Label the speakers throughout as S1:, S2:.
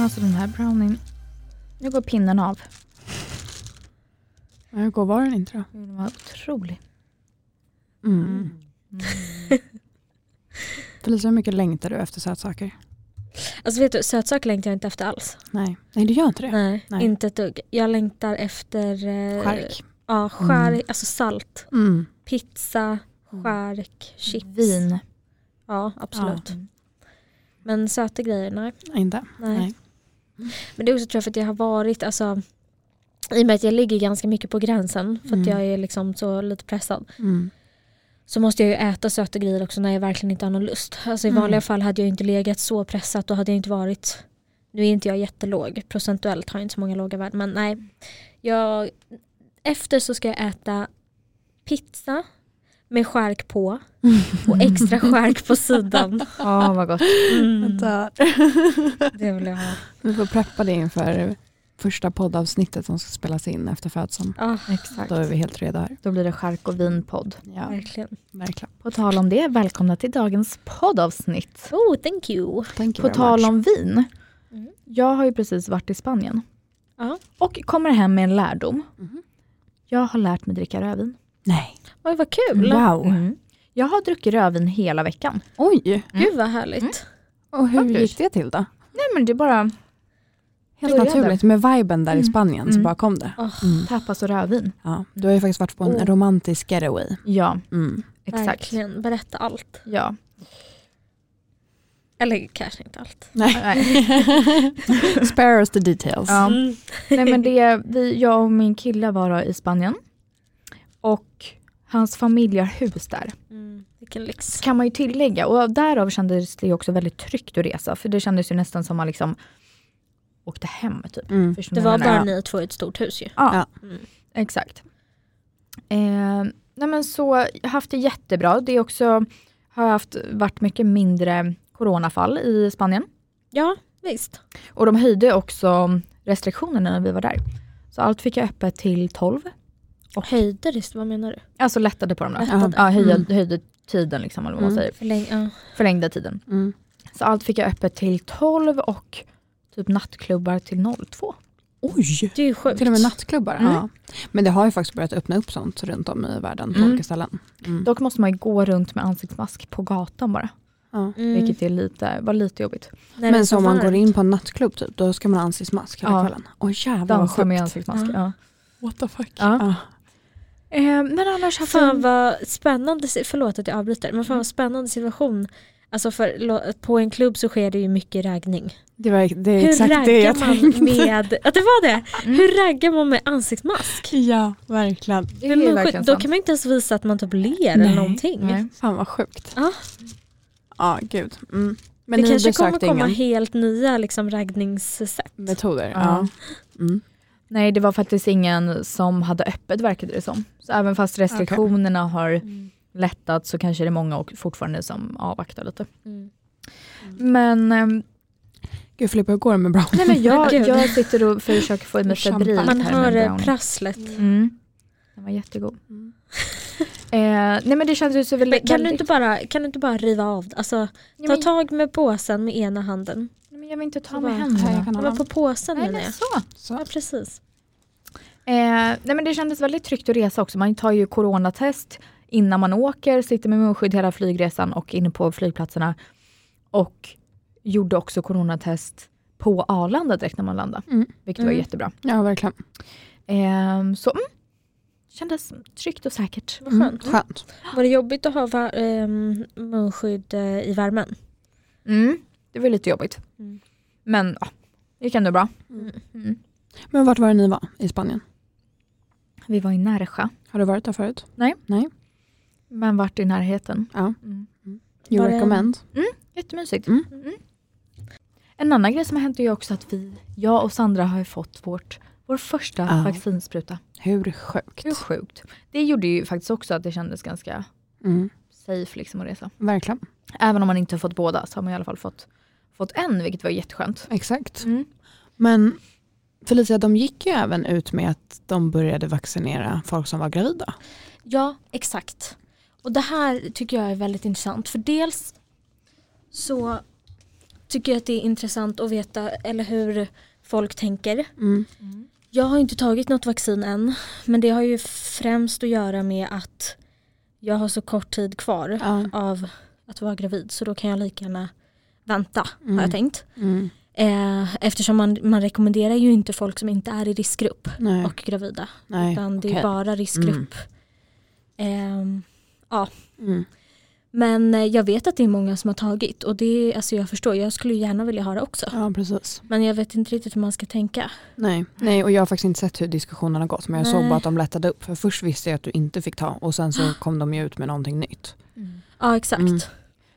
S1: Alltså den här brownien. Nu går pinnen av.
S2: Men hur går var den inte då?
S1: Den var otrolig.
S2: Mm. Felicia, hur mycket längtar du efter sötsaker?
S3: Alltså vet du, sötsaker längtar jag inte efter alls.
S2: Nej, nej du gör inte det.
S3: Nej,
S2: Nej.
S3: inte ett dugg. Jag längtar efter eh,
S2: Skärk.
S3: Ja, skärk, alltså salt.
S2: Mm.
S3: Pizza, skärk, chips.
S1: Mm. Vin.
S3: Ja, absolut.
S1: Ja.
S3: Men söta grejer, nej.
S2: Inte?
S3: nej. Men det är också tror jag för att jag har varit, alltså i och med att jag ligger ganska mycket på gränsen för att
S2: Mm.
S3: jag är liksom så lite pressad.
S2: Mm.
S3: Så måste jag ju äta söta grejer också när jag verkligen inte har någon lust. Alltså i
S2: Mm.
S3: vanliga fall hade jag inte legat så pressat och hade jag inte varit, nu är inte jag jättelåg, procentuellt har jag inte så många låga värden men nej. Jag, efter så ska jag äta pizza med skärk på och extra skärk på sidan.
S1: Åh vad gott.
S3: Mm,
S2: Vänta.
S3: det vill jag ha.
S2: Vi får preppa det inför första poddavsnittet som ska spelas in efter födseln.
S3: Ja,
S1: Exakt.
S2: Då är vi helt redo här.
S1: Då blir det skärk och vinpodd.
S2: Ja,
S3: verkligen.
S2: verkligen.
S1: På tal om det, välkomna till dagens poddavsnitt.
S3: Oh, thank you.
S2: Thank you
S1: På
S2: very
S1: tal
S2: much.
S1: om vin.
S3: Mm.
S1: Jag har ju precis varit i Spanien.
S3: Ja.
S1: Och kommer hem med en lärdom.
S2: Mhm.
S1: Jag har lärt mig dricka rödvin.
S2: Nej.
S3: Oj, vad kul.
S2: Wow.
S1: Mm. Jag har druckit rödvin hela veckan.
S2: Oj,
S3: Gud vad härligt.
S2: och hur
S1: Faktiskt.
S2: gick det till då?
S1: Nej men det är bara
S2: Helt
S1: Började.
S2: naturligt, med viben där i
S1: Mm.
S2: Spanien så
S1: Mm.
S2: bara kom det.
S3: Åh.
S2: Mm.
S1: tapas och rödvin.
S2: Ja, du har ju faktiskt varit på en
S3: Oh.
S2: romantisk getaway.
S1: Ja,
S2: Mm.
S1: exakt.
S3: Verkligen, berätta allt.
S1: Ja.
S3: Eller kanske inte allt.
S1: Nej.
S2: Spare us the details.
S1: Ja.
S3: Mm.
S1: Nej men det, vi, jag och min kille var då i Spanien. Och hans familj har hus där.
S3: Mm. Vilken lyx.
S1: kan man ju tillägga. Och därav kändes det ju också väldigt tryggt att resa. För det kändes ju nästan som man liksom åkte hem typ.
S2: Mm.
S1: Förstår
S3: Det
S1: ni vad
S3: var
S1: jag menar?
S3: bara ni två i ett stort hus ju.
S1: Ja,
S3: Mm.
S1: exakt. Eh, nej men så, jag har haft det jättebra. Det är också, har haft, varit mycket mindre coronafall i Spanien.
S3: Ja, visst.
S1: Och de höjde också restriktionerna när vi var där. Så allt fick jag öppet till 12.
S3: Och höjder, just, vad menar du?
S1: Alltså lättade på dem då.
S3: Lättade.
S1: Ja, höjde,
S2: Mm.
S1: höjde tiden liksom, eller vad man
S2: Mm.
S1: säger.
S3: Förläng- ja.
S1: Förlängde tiden.
S2: Mm.
S1: Så allt fick jag öppet till 12 och typ nattklubbar till 02.
S2: Oj!
S3: Det är ju sjukt.
S2: Till och med nattklubbar.
S1: Mm.
S2: Ja. Men det har ju faktiskt börjat öppna upp sånt runt om i världen på
S1: Mm.
S2: olika ställen. Mm.
S1: Dock måste man ju gå runt med ansiktsmask på gatan bara,
S2: Ja.
S3: Mm.
S1: vilket är lite, var lite jobbigt.
S3: När det är
S2: Men så om man
S3: varmt.
S2: går in på en nattklubb typ, då ska man ha ansiktsmask hela
S1: Ja.
S2: kvällen. Åh jävlar vad
S1: Dansa
S2: sjukt.
S1: med ansiktsmask.
S3: Ja.
S1: Ja.
S2: What the fuck.
S1: Ja.
S2: Ja.
S1: Eh, men annars har
S2: Alltså-
S3: Fan
S1: fan
S3: vad spännande, si- förlåt att jag avbryter, men fan
S2: Mm.
S3: vad spännande situation. Alltså för, lo- på en klubb så sker det ju mycket raggning.
S2: Det, var, det är
S3: Hur
S2: exakt
S3: raggar
S2: det jag
S3: man
S2: tänkte. Mm.
S3: med, att det var det? Hur raggar man med ansiktsmask?
S2: Ja, verkligen.
S1: det
S3: Det
S1: är ju
S3: är
S1: verkligen
S3: sjukt. Då
S1: sant.
S3: kan man inte ens visa att man typ ler
S2: Nej.
S3: eller någonting.
S1: Nej.
S2: Fan vad sjukt.
S3: Ja.
S2: Ja, gud. Mm. Men
S3: Det
S2: ni
S3: kanske kommer
S2: besökte
S3: komma
S2: ingen
S3: helt nya liksom, raggningssätt.
S2: metoder?
S1: Ja.
S2: Ja. Mm.
S1: Nej, det var faktiskt ingen som hade öppet verkade det som. Så även fast restriktionerna har lättat så kanske det är många och fortfarande som avvaktar lite.
S3: Mm.
S1: Men, ehm,
S2: Gud Filippa, hur går det med bra?
S1: nej, men jag,
S3: Gud.
S1: jag sitter och försöker få i mig
S2: Champagne.
S1: febril.
S3: Man
S1: här med
S3: hör eh,
S1: brownie.
S3: prasslet.
S1: Mm. Den var jättegod. Eh, nej men det känns ju så
S3: Men
S1: väldigt...
S3: kan, du inte bara, kan du inte bara riva av det? Alltså,
S1: Nej,
S3: ta
S1: men,
S3: tag med påsen med ena handen.
S1: nej, men jag vill inte ta
S3: Så
S1: med
S3: bara-
S2: Här, jag
S1: händerna.
S2: kan ha
S3: Ja, men på
S2: den.
S3: påsen
S1: Nej
S3: menar jag.
S1: men så.
S3: Ja,
S2: Så.
S3: precis.
S1: Eh, nej men det kändes väldigt tryggt att resa också. Man tar ju coronatest innan man åker, sitter med munskydd hela flygresan och inne på flygplatserna. Och gjorde också coronatest på Arlanda direkt när man landade.
S2: Mm.
S1: Vilket var
S3: Mm.
S1: jättebra.
S2: Ja, verkligen.
S1: Eh, så mm, kändes tryggt och säkert.
S3: Vad
S2: Mm.
S3: skönt.
S2: Skönt.
S3: Var det jobbigt att ha va- ehm, munskydd eh, i värmen?
S1: Mm, det var lite jobbigt.
S3: Mm.
S1: Men ja, det gick ändå bra.
S3: Mm.
S1: Mm.
S2: Men vart var det ni var i Spanien?
S1: Vi var i Närsjö,
S2: Har du varit där förut?
S1: men vart i närheten.
S2: Ja.
S1: Mm.
S2: You
S3: Var det-
S2: recommend?
S1: Jättemysigt.
S2: Mm.
S1: Mm. En annan grej som har hänt är ju också att vi, jag och Sandra har ju fått vårt, vår första
S2: Ja.
S1: vaccinspruta.
S2: Hur sjukt?
S1: Hur sjukt? Det gjorde ju faktiskt också att det kändes ganska
S2: Mm.
S1: safe liksom att resa.
S2: Verkligen.
S1: Även om man inte har fått båda så har man i alla fall fått, fått en, vilket var jätteskönt.
S2: Exakt. Men Felicia, de gick ju även ut med att de började vaccinera folk som var gravida.
S3: Ja, exakt. Och det här tycker jag är väldigt intressant. För dels så tycker att det är intressant att veta eller hur folk tänker.
S2: Mm.
S3: Jag har inte tagit något vaccin än men det har ju främst att göra med att jag har så kort tid kvar
S2: Ja.
S3: av att vara gravid så då kan jag lika gärna vänta
S2: Mm.
S3: har jag tänkt.
S2: Mm.
S3: Eh, eftersom man, man rekommenderar ju inte folk som inte är i riskgrupp
S2: Nej.
S3: och gravida
S2: Nej.
S3: utan det
S2: okej.
S3: är bara riskgrupp. Ehm,
S2: Mm.
S3: men eh, jag vet att det är många som har tagit och det, alltså jag förstår, jag skulle ju gärna vilja ha det också.
S2: Ja, precis.
S3: Men jag vet inte riktigt hur man ska tänka.
S2: Nej. Nej, och jag har faktiskt inte sett hur diskussionerna har gått. Men jag såg
S3: Nej.
S2: bara att de lättade upp. För först visste jag att du inte fick ta och sen så kom de ju ut med någonting nytt.
S3: Ja exakt.
S2: Mm.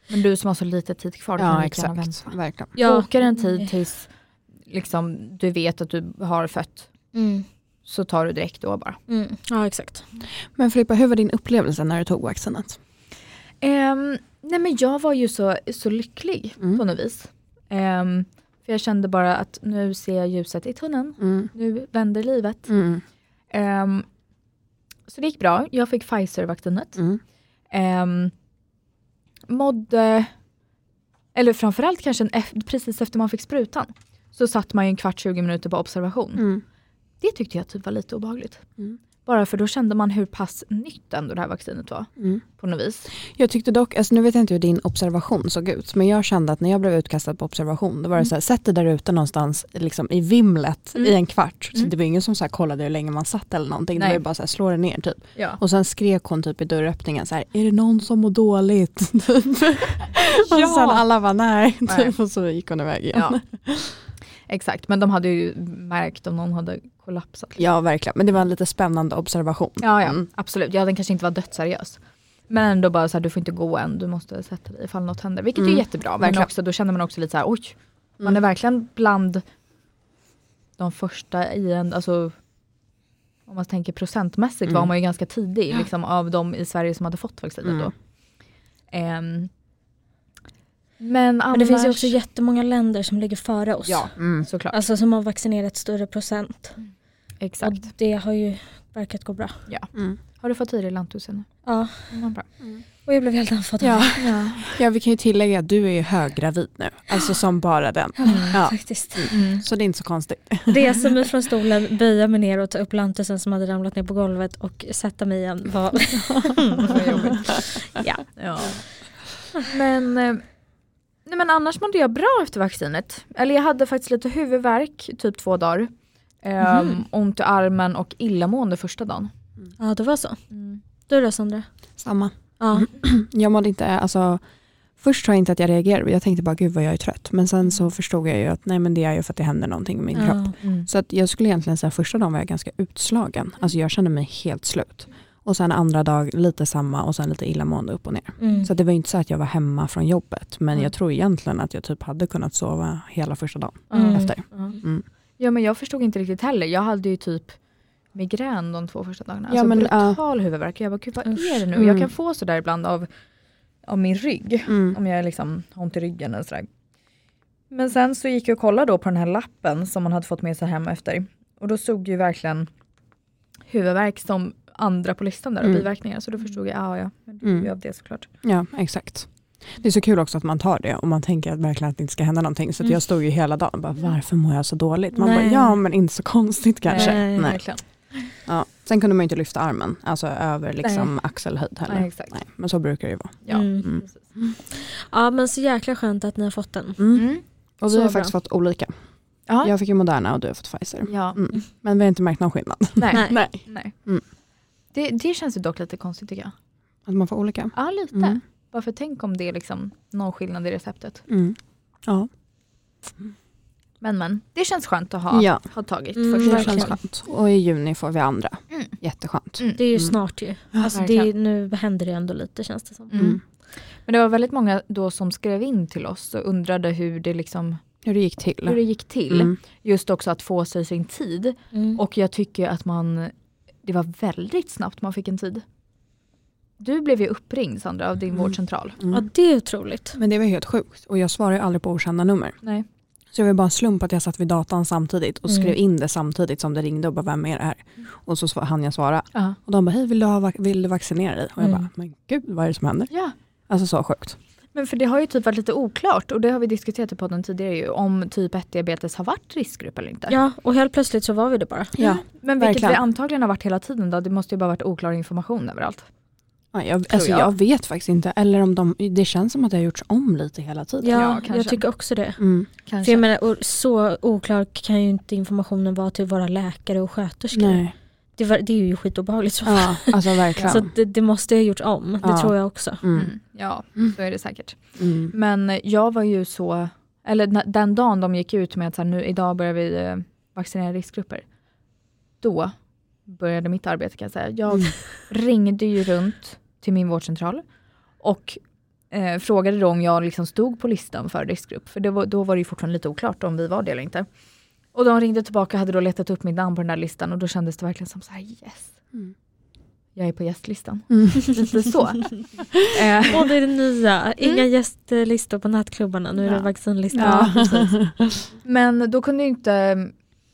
S1: Men du som har så lite tid kvar, du kan
S2: Ja,
S1: lika gärna
S2: exakt.
S1: vänta.
S2: Verkligen.
S3: Ja.
S1: Bokar en tid tills liksom, du vet att du har fött,
S3: Mm.
S1: så tar du direkt då bara.
S3: Mm. Ja exakt.
S2: Men Filippa, hur var din upplevelse när du tog vaccinet?
S1: Ehm, nej men jag var ju så, så lycklig
S2: Mm.
S1: på något vis. Ehm, för jag kände bara att nu ser jag ljuset i tunneln,
S2: Mm.
S1: nu vänder livet.
S2: Mm.
S1: Ehm, så det gick bra, jag fick Pfizer-vaccinet.
S2: Mm.
S1: Um, mådde, eller framförallt kanske en, eff- precis efter man fick sprutan, så satt man ju en kvart, 20 minuter på observation.
S2: Mm.
S1: Det tyckte jag typ var lite obehagligt.
S2: Mm.
S1: Bara för då kände man hur pass nytt ändå det här vaccinet var
S2: Mm.
S1: på något vis.
S2: Jag tyckte dock, alltså nu vet jag inte hur din observation såg ut, men jag kände att när jag blev utkastad på observation, då var det så här, sätt dig där ute någonstans liksom, i vimlet
S3: Mm.
S2: i en kvart. Så
S1: Mm. Mm.
S2: det var ingen som så här, kollade hur länge man satt eller någonting,
S1: Nej.
S2: det var ju bara så här, slå dig ner typ.
S1: Ja.
S2: Och sen skrek hon typ i dörröppningen så här, är det någon som mår dåligt? Typ. och
S1: Ja.
S2: sen alla var nej,
S1: Nej.
S2: typ, och så gick hon iväg igen. Ja.
S1: ja. Exakt, men de hade ju märkt om någon hade kollapsat.
S2: verkligen, men det var en lite spännande observation.
S1: Ja, ja
S2: Mm.
S1: absolut. Ja, den kanske inte var dödsseriös. Men ändå bara så här, du får inte gå än, du måste sätta dig ifall något händer. Vilket
S2: Mm,
S1: är jättebra, men
S2: verkligen.
S1: också, då känner man också lite så här, oj, man
S2: Mm.
S1: är verkligen bland de första i en, alltså om man tänker procentmässigt var
S2: Mm.
S1: man ju ganska tidig liksom, av de i Sverige som hade fått vaccinet
S2: Mm.
S1: då. Ehm, men annars,
S3: Men det finns ju också jättemånga länder som ligger före oss.
S1: Ja,
S2: Mm.
S1: såklart.
S3: Alltså som har vaccinerat större procent.
S1: Exakt.
S3: Och det har ju verkat gå bra.
S2: Mm.
S1: Har du fått i dig lanthusen nu?
S3: Ja,
S1: Vad bra.
S3: och jag blev helt andfådd. av
S2: Ja.
S3: det.
S1: Ja.
S2: Ja, vi kan ju tillägga att du är ju höggravid nu, alltså som bara den. Ja.
S3: Faktiskt.
S1: Mm.
S2: Så det är inte så konstigt.
S3: Resa mig från stolen, böja mig ner och ta upp lantusen som hade ramlat ner på golvet och sätta mig igen. Var...
S1: Vad jobbigt.
S3: Ja.
S1: Mm. Ja. Men, eh, nej men annars mådde jag bra efter vaccinet. Eller jag hade faktiskt lite huvudvärk typ två dagar. Ehm,
S3: Mhm.
S1: Ont i armen och illamående första dagen.
S3: ja, det var så.
S1: Mm.
S3: Du då Sandra? Mm.
S2: Samma.
S3: Ja.
S2: Jag mådde inte, alltså först tror jag inte att jag reagerade, jag tänkte bara gud vad jag är trött. Men sen så förstod jag ju att nej men det är ju för att det händer någonting med min kropp.
S3: ja.
S1: Mm.
S2: Så att jag skulle egentligen säga första dagen var jag ganska utslagen. Alltså jag kände mig helt slut. Och sen andra dag lite samma och sen lite illamående upp och ner.
S3: Mm.
S2: Så att det var ju inte så att jag var hemma från jobbet. Men
S1: Mm.
S2: jag tror egentligen att jag typ hade kunnat sova hela första dagen
S1: Mm.
S2: efter. Mm.
S1: Ja men jag förstod inte riktigt heller. Jag hade ju typ migrän de två första dagarna.
S2: Ja,
S1: Alltså
S2: men, ja.
S1: brutal huvudvärk. Jag bara gud vad
S3: Usch.
S1: är det nu?
S2: Mm.
S1: Jag kan få sådär ibland av, av min rygg.
S2: Mm.
S1: Om jag liksom har ont i ryggen eller sådär. Men sen så gick jag och kollade då på den här lappen som man hade fått med sig hem efter. Och då såg ju verkligen huvudvärk som andra på listan där och
S2: Mm.
S1: biverkningar. Så då förstod jag, ah, ja ja, men det är
S2: Mm.
S1: ju av det såklart.
S2: Ja, exakt. Det är så kul också att man tar det och man tänker att verkligen att det inte ska hända någonting. Så att
S1: Mm.
S2: jag stod ju hela dagen och bara varför mår jag så dåligt? Man
S3: Nej.
S2: bara ja men inte så konstigt kanske.
S3: Nej.
S2: Nej.
S1: Verkligen.
S2: Ja. Sen kunde man ju inte lyfta armen, alltså över liksom axelhöjd heller.
S1: Nej,
S2: Nej.
S1: exakt.
S2: men så brukar det ju vara.
S1: Ja.
S3: Mm.
S2: Mm.
S1: Precis.
S3: ja men så jäkla skönt att ni har fått den.
S2: Mm.
S1: Mm.
S2: Och
S3: Så
S2: vi har
S3: bra.
S2: faktiskt fått olika.
S1: Ja.
S2: Jag fick ju Moderna och du har fått Pfizer.
S1: ja.
S2: Mm. Men vi har inte märkt någon skillnad.
S1: Nej.
S3: Nej.
S1: Nej.
S2: Mm.
S1: Det, det känns ju dock lite konstigt tycker jag.
S2: Att man får olika.
S1: Ja lite.
S2: Mm.
S1: Varför tänk om det är liksom någon skillnad i receptet.
S2: Mm. Ja,
S1: Men men, det känns skönt att ha,
S2: Ja.
S1: ha tagit
S3: Mm,
S1: första
S2: det känns
S1: chansen.
S3: verkligen.
S2: skönt. Och i juni får vi andra.
S1: Mm.
S2: Jätteskönt.
S1: Mm.
S3: Det är ju
S2: Mm.
S3: snart ju. Alltså det
S1: verkligen.
S3: är, nu händer det ändå lite känns det som.
S1: Mm. Men det var väldigt många då som skrev in till oss och undrade hur det, liksom,
S2: Hur det gick till.
S1: hur det gick till.
S2: Mm.
S1: Just också att få sig sin tid.
S3: Mm.
S1: Och jag tycker att man, det var väldigt snabbt man fick en tid. Du blev ju uppringd Sandra av din
S2: Mm.
S1: vårdcentral.
S2: Mm.
S3: Ja det är otroligt.
S2: Men det var helt sjukt och jag svarar ju aldrig på okända nummer.
S1: Nej.
S2: Så det var bara en slump att jag satt vid datan samtidigt och
S3: Mm.
S2: skrev in det samtidigt som det ringde och bara vem är det här? Och så sva- hann jag svara.
S1: Ja.
S2: Och de bara hej vill du, ha, vac- vill du vaccinera dig? Och jag
S3: Mm.
S2: bara men gud vad är det som händer?
S1: ja.
S2: Alltså så sjukt.
S1: Men för det har ju typ varit lite oklart och det har vi diskuterat i podden tidigare ju om typ 1 diabetes har varit riskgrupp eller inte.
S3: Ja, och helt plötsligt så var vi det bara.
S2: Ja.
S1: Men vilket
S2: verkligen.
S1: det antagligen har varit hela tiden då, det måste ju bara varit oklar information överallt.
S2: Ja, jag, alltså,
S1: jag.
S2: jag. vet faktiskt inte. Eller om de, det känns som att det har gjorts om lite hela tiden.
S1: Ja,
S3: Ja,
S1: kanske.
S3: jag tycker också det.
S2: Mm.
S1: Kanske.
S3: För jag menar, och så oklar kan ju inte informationen vara till våra läkare och sköterskor.
S2: Nej.
S3: Det, var, det är ju skitobehagligt. Så,
S2: Ja, alltså verkligen.
S3: så att det, det måste ha gjorts om, det
S2: Ja.
S3: tror jag också.
S2: Mm.
S1: Mm. Ja,
S2: Mm.
S1: så är det säkert.
S2: Mm.
S1: Men jag var ju så, eller na- den dagen de gick ut med att så här, nu, idag börjar vi eh, vaccinera riskgrupper. Då började mitt arbete kan jag säga. Jag
S2: Mm.
S1: ringde ju runt till min vårdcentral och eh, frågade då om jag liksom stod på listan för riskgrupp. För det var, då var det ju fortfarande lite oklart om vi var det eller inte. Och de ringde tillbaka och hade då letat upp mitt namn på den där listan och då kändes det verkligen som så här yes,
S2: Mm.
S1: jag är på gästlistan.
S2: Mm.
S1: Lite så. eh,
S3: Och det är det nya, inga gästlistor på nattklubbarna, nu är det
S1: Mm. Ja.
S3: vaccinlistan.
S1: ja, precis. Men då kunde ju inte,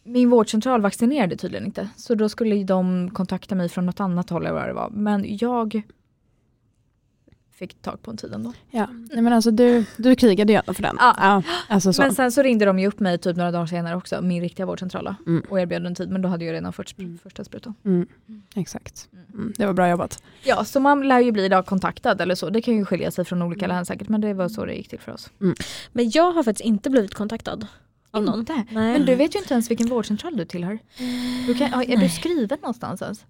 S1: min vårdcentral vaccinerade tydligen inte. Så då skulle ju de kontakta mig från något annat håll eller vad det var. Men jag fick tag på en tid ändå.
S2: Ja. Nej, men alltså, du, du krigade ju ändå för den.
S1: Ja.
S2: alltså, så.
S1: Men sen så ringde de ju upp mig typ några dagar senare också, min riktiga vårdcentral då,
S2: Mm.
S1: och erbjöd en tid men då hade jag redan först,
S2: Mm.
S1: första sprutan.
S2: Mm. Exakt. Mm. Det var bra jobbat.
S1: Ja, så man lär ju bli idag kontaktad eller så. Det kan ju skilja sig från
S3: Mm.
S1: olika län säkert men det var så det gick till för oss.
S3: Men jag har faktiskt inte blivit kontaktad av någon.
S1: Inte.
S3: Nej.
S1: Mm. Men du vet ju inte ens vilken vårdcentral du tillhör. Du kan, ja, är du
S3: Mm. Nej.
S1: skriven någonstans ens?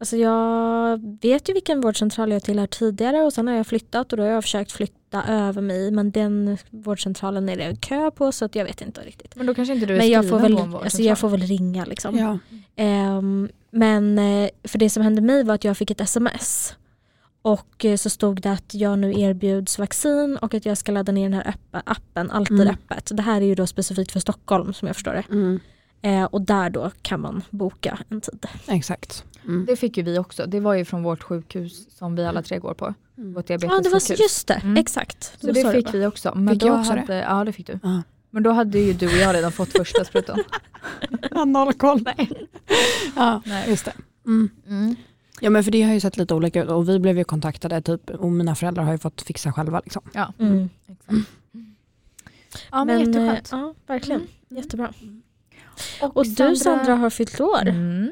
S3: Alltså jag vet ju vilken vårdcentral jag tillhör tidigare och sen har jag flyttat och då har jag försökt flytta över mig men den vårdcentralen är det kö på så att jag vet inte riktigt.
S1: Men då kanske inte du är
S3: Men jag
S1: skriven
S3: får, väl,
S1: på en vårdcentral.
S3: alltså jag får väl ringa liksom.
S2: Ja.
S3: Ehm, men eh, för det som hände mig var att jag fick ett sms och eh, så stod det att jag nu erbjuds vaccin och att jag ska ladda ner den här öpp- appen, Alltid
S2: Mm.
S3: öppet. Det här är ju då specifikt för Stockholm som jag förstår det.
S2: Mm.
S3: Eh, och där då kan man boka en tid.
S2: Exakt. Mm.
S1: Det fick ju vi också. Det var ju från vårt sjukhus som vi alla tre går på. Vårt
S3: Ja det var
S1: diabetessjukhus.
S3: så, just det,
S1: Mm.
S3: exakt.
S1: så
S3: var
S1: det
S3: var.
S1: fick vi också. Men
S2: Fick
S1: då
S2: jag också
S1: hade, det? Ja det fick du.
S2: Ja.
S1: Men då hade ju du och jag redan fått första sprutan.
S2: Jag har noll koll. ja,
S1: Nej.
S2: just det. Mm.
S1: Mm.
S2: Ja men för det har ju sett lite olika ut och vi blev ju kontaktade typ och mina föräldrar har ju fått fixa själva liksom.
S1: Ja.
S3: Mm.
S1: Exakt. Ja men,
S3: eh,
S1: jätteskönt.
S3: Ja verkligen,
S1: Mm.
S3: jättebra. Och du Sandra har fyllt år.
S1: Mm.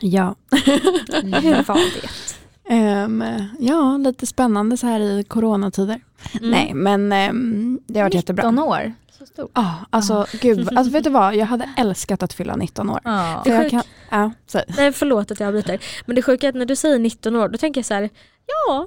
S2: Ja.
S3: Hur var det?
S2: Ehm, ja, lite spännande så här i coronatider.
S3: Mm.
S2: Nej men ehm, det har varit jättebra.
S1: 19 år. Så stor.
S2: Ja, alltså gud, alltså vet du vad, jag hade älskat att fylla 19 år.
S1: Ja.
S2: För jag
S3: sjukt.
S2: kan, ja, så,
S3: Nej förlåt att jag avbryter. Men det sjuka är att när du säger 19 år då tänker jag så här, ja.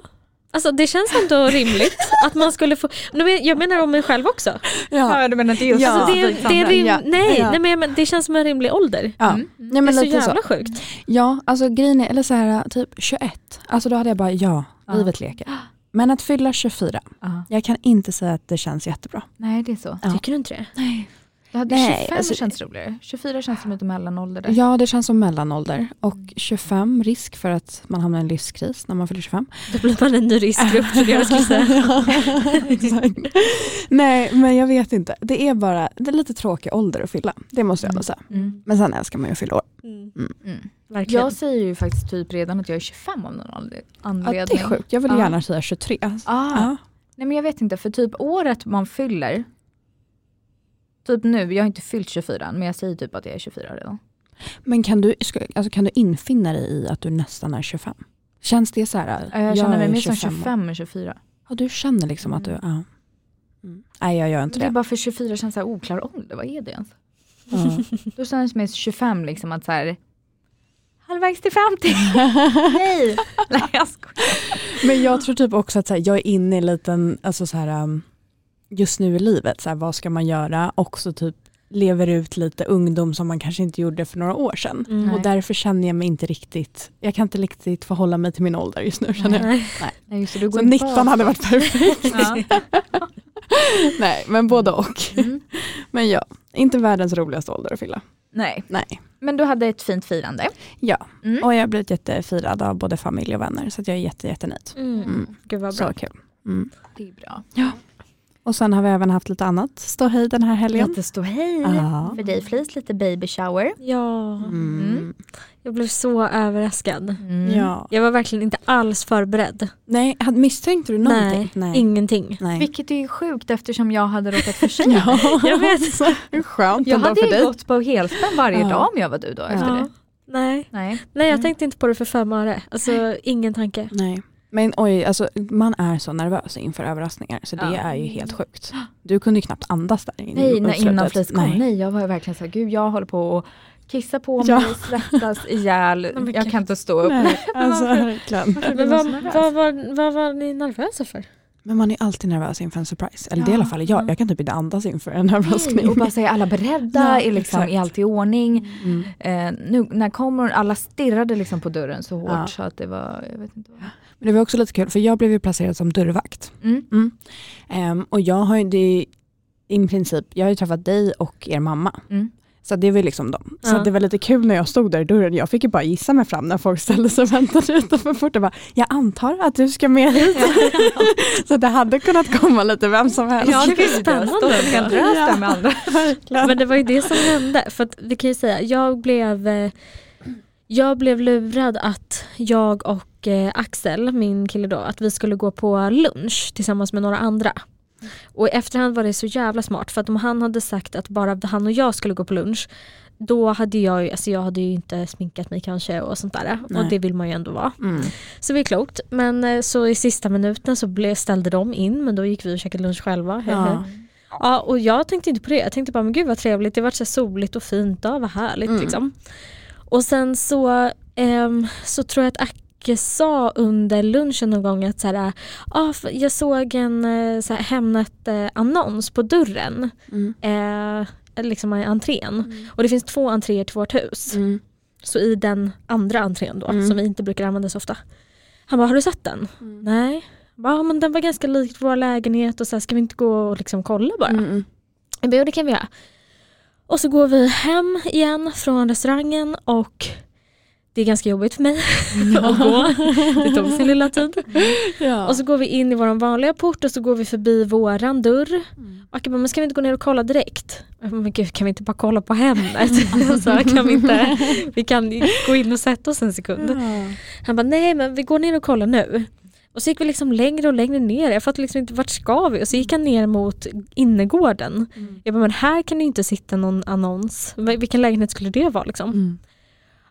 S3: Alltså det känns ändå rimligt att man skulle få, Nu men- jag menar om mig själv också.
S2: ja,
S1: du menar inte just
S2: Ja.
S3: Alltså, det, är- det, är rim,
S2: Ja.
S3: nej,
S2: Ja.
S3: nej, men, jag men det känns som en rimlig ålder.
S2: ja.
S1: Mm.
S2: Nej,
S3: Det
S2: men
S3: är så
S2: lite så.
S3: jävla sjukt.
S2: Ja, alltså grejen är, eller så här typ 21, alltså då hade jag bara ja,
S1: Ja.
S2: livet leker. Men att fylla 24,
S1: Ja.
S2: jag kan inte säga att det känns jättebra.
S1: Nej det är så.
S2: Ja.
S3: Tycker du inte det?
S1: Det hade
S2: Nej,
S1: 25
S2: alltså-
S1: känns roligare. 24 känns som lite mellanålder där.
S2: Ja, det känns som mellanålder. Och 25, risk för att man hamnar i en livskris när man fyller 25.
S3: Då blir man en ny riskgrupp tror jag jag skulle säga.
S2: Ja, exakt. Nej, men jag vet inte. Det är bara det är lite tråkig ålder att fylla. Det måste jag nog säga.
S1: Mm.
S2: Men sen älskar man ju att fylla år.
S3: Mm.
S1: Mm.
S3: Verkligen.
S1: Jag säger ju faktiskt typ redan att jag är 25 av någon anled-
S2: Ja,
S1: anledning.
S2: det är sjukt. Jag vill
S1: Ja.
S2: gärna säga 23.
S1: Ah.
S2: Ja.
S1: Nej men jag vet inte, för typ året man fyller, typ nu, jag har inte fyllt 24 än, men jag säger typ att jag är 24 redan.
S2: Men kan du, ska- alltså, kan du infinna dig i att du nästan är 25? Känns det så här?
S1: Eh, Jag, jag känner mig
S2: är
S1: mer som
S2: 25 år.
S1: 25 än 24.
S2: Ja, du känner liksom att du, ja. Mm. Nej, jag gör inte
S1: Det är
S2: det.
S1: bara för 24 känns så här oklar ålder, vad är det ens?
S2: Ja.
S1: Då känns det mer 25 liksom att så här halvvägs till 50. Nej! Nej jag skojar.
S2: Men jag tror typ också att så här, jag är inne i en liten, alltså så här, um, just nu i livet, så här, vad ska man göra? Också typ lever ut lite ungdom som man kanske inte gjorde för några år sedan.
S3: Mm.
S1: Nej.
S2: Och därför känner jag mig inte riktigt, jag kan inte riktigt förhålla mig till min ålder just nu känner jag.
S3: Nej.
S1: Nej, just det, du går
S2: Så
S1: in
S2: 19 hade
S1: bakåt.
S2: varit perfekt.
S1: Ja.
S2: Nej, men både och.
S1: Mm.
S2: Men ja, inte världens roligaste ålder att fylla.
S1: Nej,
S2: Nej.
S1: men du hade ett fint firande.
S2: Ja,
S1: Mm.
S2: och jag har blivit jättefirad av både familj och vänner så att jag är jätte, jättenöjd.
S3: Mm.
S2: Mm.
S3: Gud vad bra.
S2: Så kul. Mm.
S1: Det är bra.
S2: Och sen har vi även haft lite annat ståhej den här helgen.
S1: Lite ståhej.
S2: Ja.
S1: För dig Flis, lite baby shower.
S3: Ja,
S2: Mm.
S3: Jag blev så överraskad.
S1: Mm.
S2: Ja.
S3: Jag var verkligen inte alls förberedd.
S2: Nej, hade- misstänkte du någonting?
S3: Nej, ingenting.
S2: Nej.
S1: Vilket är sjukt eftersom jag hade råkat försäga
S2: Ja,
S3: Jag vet.
S2: Hur skönt
S1: Jag
S2: ändå
S1: hade
S2: för
S1: ju
S2: dig.
S1: gått på helspänn varje
S2: Ja.
S1: dag om jag var du då efter
S2: Ja.
S1: det.
S3: Nej.
S1: Nej.
S3: Nej, jag
S1: Mm.
S3: tänkte inte på det för fem öre. Alltså ingen tanke.
S2: Nej. Men oj, alltså, man är så nervös inför överraskningar så det
S1: Ja.
S2: är ju helt sjukt. Du kunde ju knappt andas där in-
S1: Nej,
S2: mot
S1: nej
S2: slutet.
S1: innan flis kom. Nej.
S2: Nej.
S1: jag var ju verkligen så här, gud jag håller på att kissa på mig,
S2: Ja.
S1: svettas ihjäl,
S3: men
S1: jag
S3: gud.
S1: kan inte stå upp.
S2: Nej, alltså
S1: varför-
S2: verkligen.
S1: Varför blir
S3: Men
S1: man
S3: vad,
S1: så nervös?
S3: vad, var, vad var ni nervösa för?
S2: Men man är alltid nervös inför en surprise. Eller det
S1: Ja,
S2: är i alla fall jag.
S1: ja.
S2: Jag kan typ inte andas inför en överraskning.
S1: Och bara säga, är alla beredda?
S2: Ja,
S1: är, liksom,
S2: exakt.
S1: är allt i ordning?
S2: Mm.
S1: Eh, nu, när kommer hon? Alla stirrade liksom på dörren så hårt
S2: Ja.
S1: så att det var, jag vet inte vad.
S2: Men det var också lite kul för jag blev ju placerad som dörrvakt.
S1: Mm.
S2: Ehm, och jag har ju det är ju i princip, jag har ju träffat dig och er mamma.
S1: Mm.
S2: Så det var ju liksom dem. Så
S3: Ja.
S2: det var lite kul när jag stod där i dörren. Jag fick ju bara gissa mig fram när folk ställde sig och väntade utanför porten. Bara, Jag antar att du ska med hit. så det hade kunnat komma lite vem som helst.
S1: Ja, det finns ju
S3: spännande.
S1: Stå och kan drös där med andra.
S3: Men det var ju det som hände. För att vi kan ju säga, jag blev, eh, jag blev lurad att jag och eh, Axel, min kille då, att vi skulle gå på lunch tillsammans med några andra. Och i efterhand var det så jävla smart för att om han hade sagt att bara han och jag skulle gå på lunch då hade jag, ju- alltså jag hade ju inte sminkat mig kanske och sånt där.
S2: Nej.
S3: Och det vill man ju ändå vara.
S2: Mm.
S3: Så det är klokt. Men eh, så i sista minuten så ble, ställde de in men då gick vi och käkade lunch själva.
S2: Ja.
S3: Ja, och jag tänkte inte på det. Jag tänkte bara, men gud vad trevligt. Det var så soligt och fint. Ja, vad härligt
S2: Mm.
S3: liksom. Och sen så, ehm, så tror jag att Acke sa under lunchen någon gång att så här, ah, f- jag såg en eh, så här, Hemnet-annons på dörren,
S2: Mm.
S3: eh, liksom i entrén. Och det finns två entréer till vårt hus.
S2: Mm.
S3: Så i den andra entrén då,
S2: Mm.
S3: som vi inte brukar använda så ofta. Han bara, har du sett den?
S2: Mm.
S3: Nej. Jag Bara, "Ja, men den var ganska lik vår lägenhet och så här, ska vi inte gå och liksom kolla bara?
S2: Mm.
S3: Jag bara, "Jo, det kan vi göra. Och så går vi hem igen från restaurangen och det är ganska jobbigt för mig att gå. Det tog sin lilla tid.
S2: Ja.
S3: Och så går vi in i vår vanliga port och så går vi förbi våran dörr. Och jag bara, men ska vi inte gå ner och kolla direkt? Jag bara, Men gud, kan vi inte bara kolla på hemmet? så här, kan vi, inte, vi kan gå in och sätta oss en sekund.
S2: Ja.
S3: Han bara, nej men vi går ner och kollar nu. Och så gick vi liksom längre och längre ner. Jag fattade liksom inte vart ska vi? Och så gick han ner mot innergården.
S2: Mm.
S3: Jag bara, men här kan det ju inte sitta någon annons. V- Vilken lägenhet skulle det vara liksom?
S2: Mm.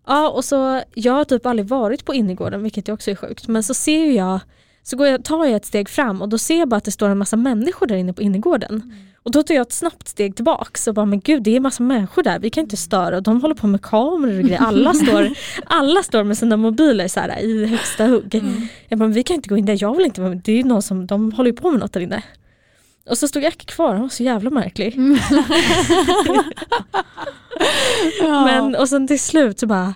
S3: Ja, och så jag har typ aldrig varit på innergården, vilket ju också är sjukt. Men så ser ju jag, så går jag, tar jag ett steg fram och då ser jag bara att det står en massa människor där inne på innergården. Och då tar jag ett snabbt steg tillbaks och bara, men gud det är en massa människor där, vi kan inte störa. Och de håller på med kameror och grejer. Alla står, alla står med sina mobiler så här, i högsta hugg. Jag bara, men vi kan inte gå in där, jag vill inte vara med. Det är ju någon som, de håller ju på med något där inne. Och så stod Jack kvar, han var så jävla märklig.
S2: Ja.
S3: Men, och sen till slut så bara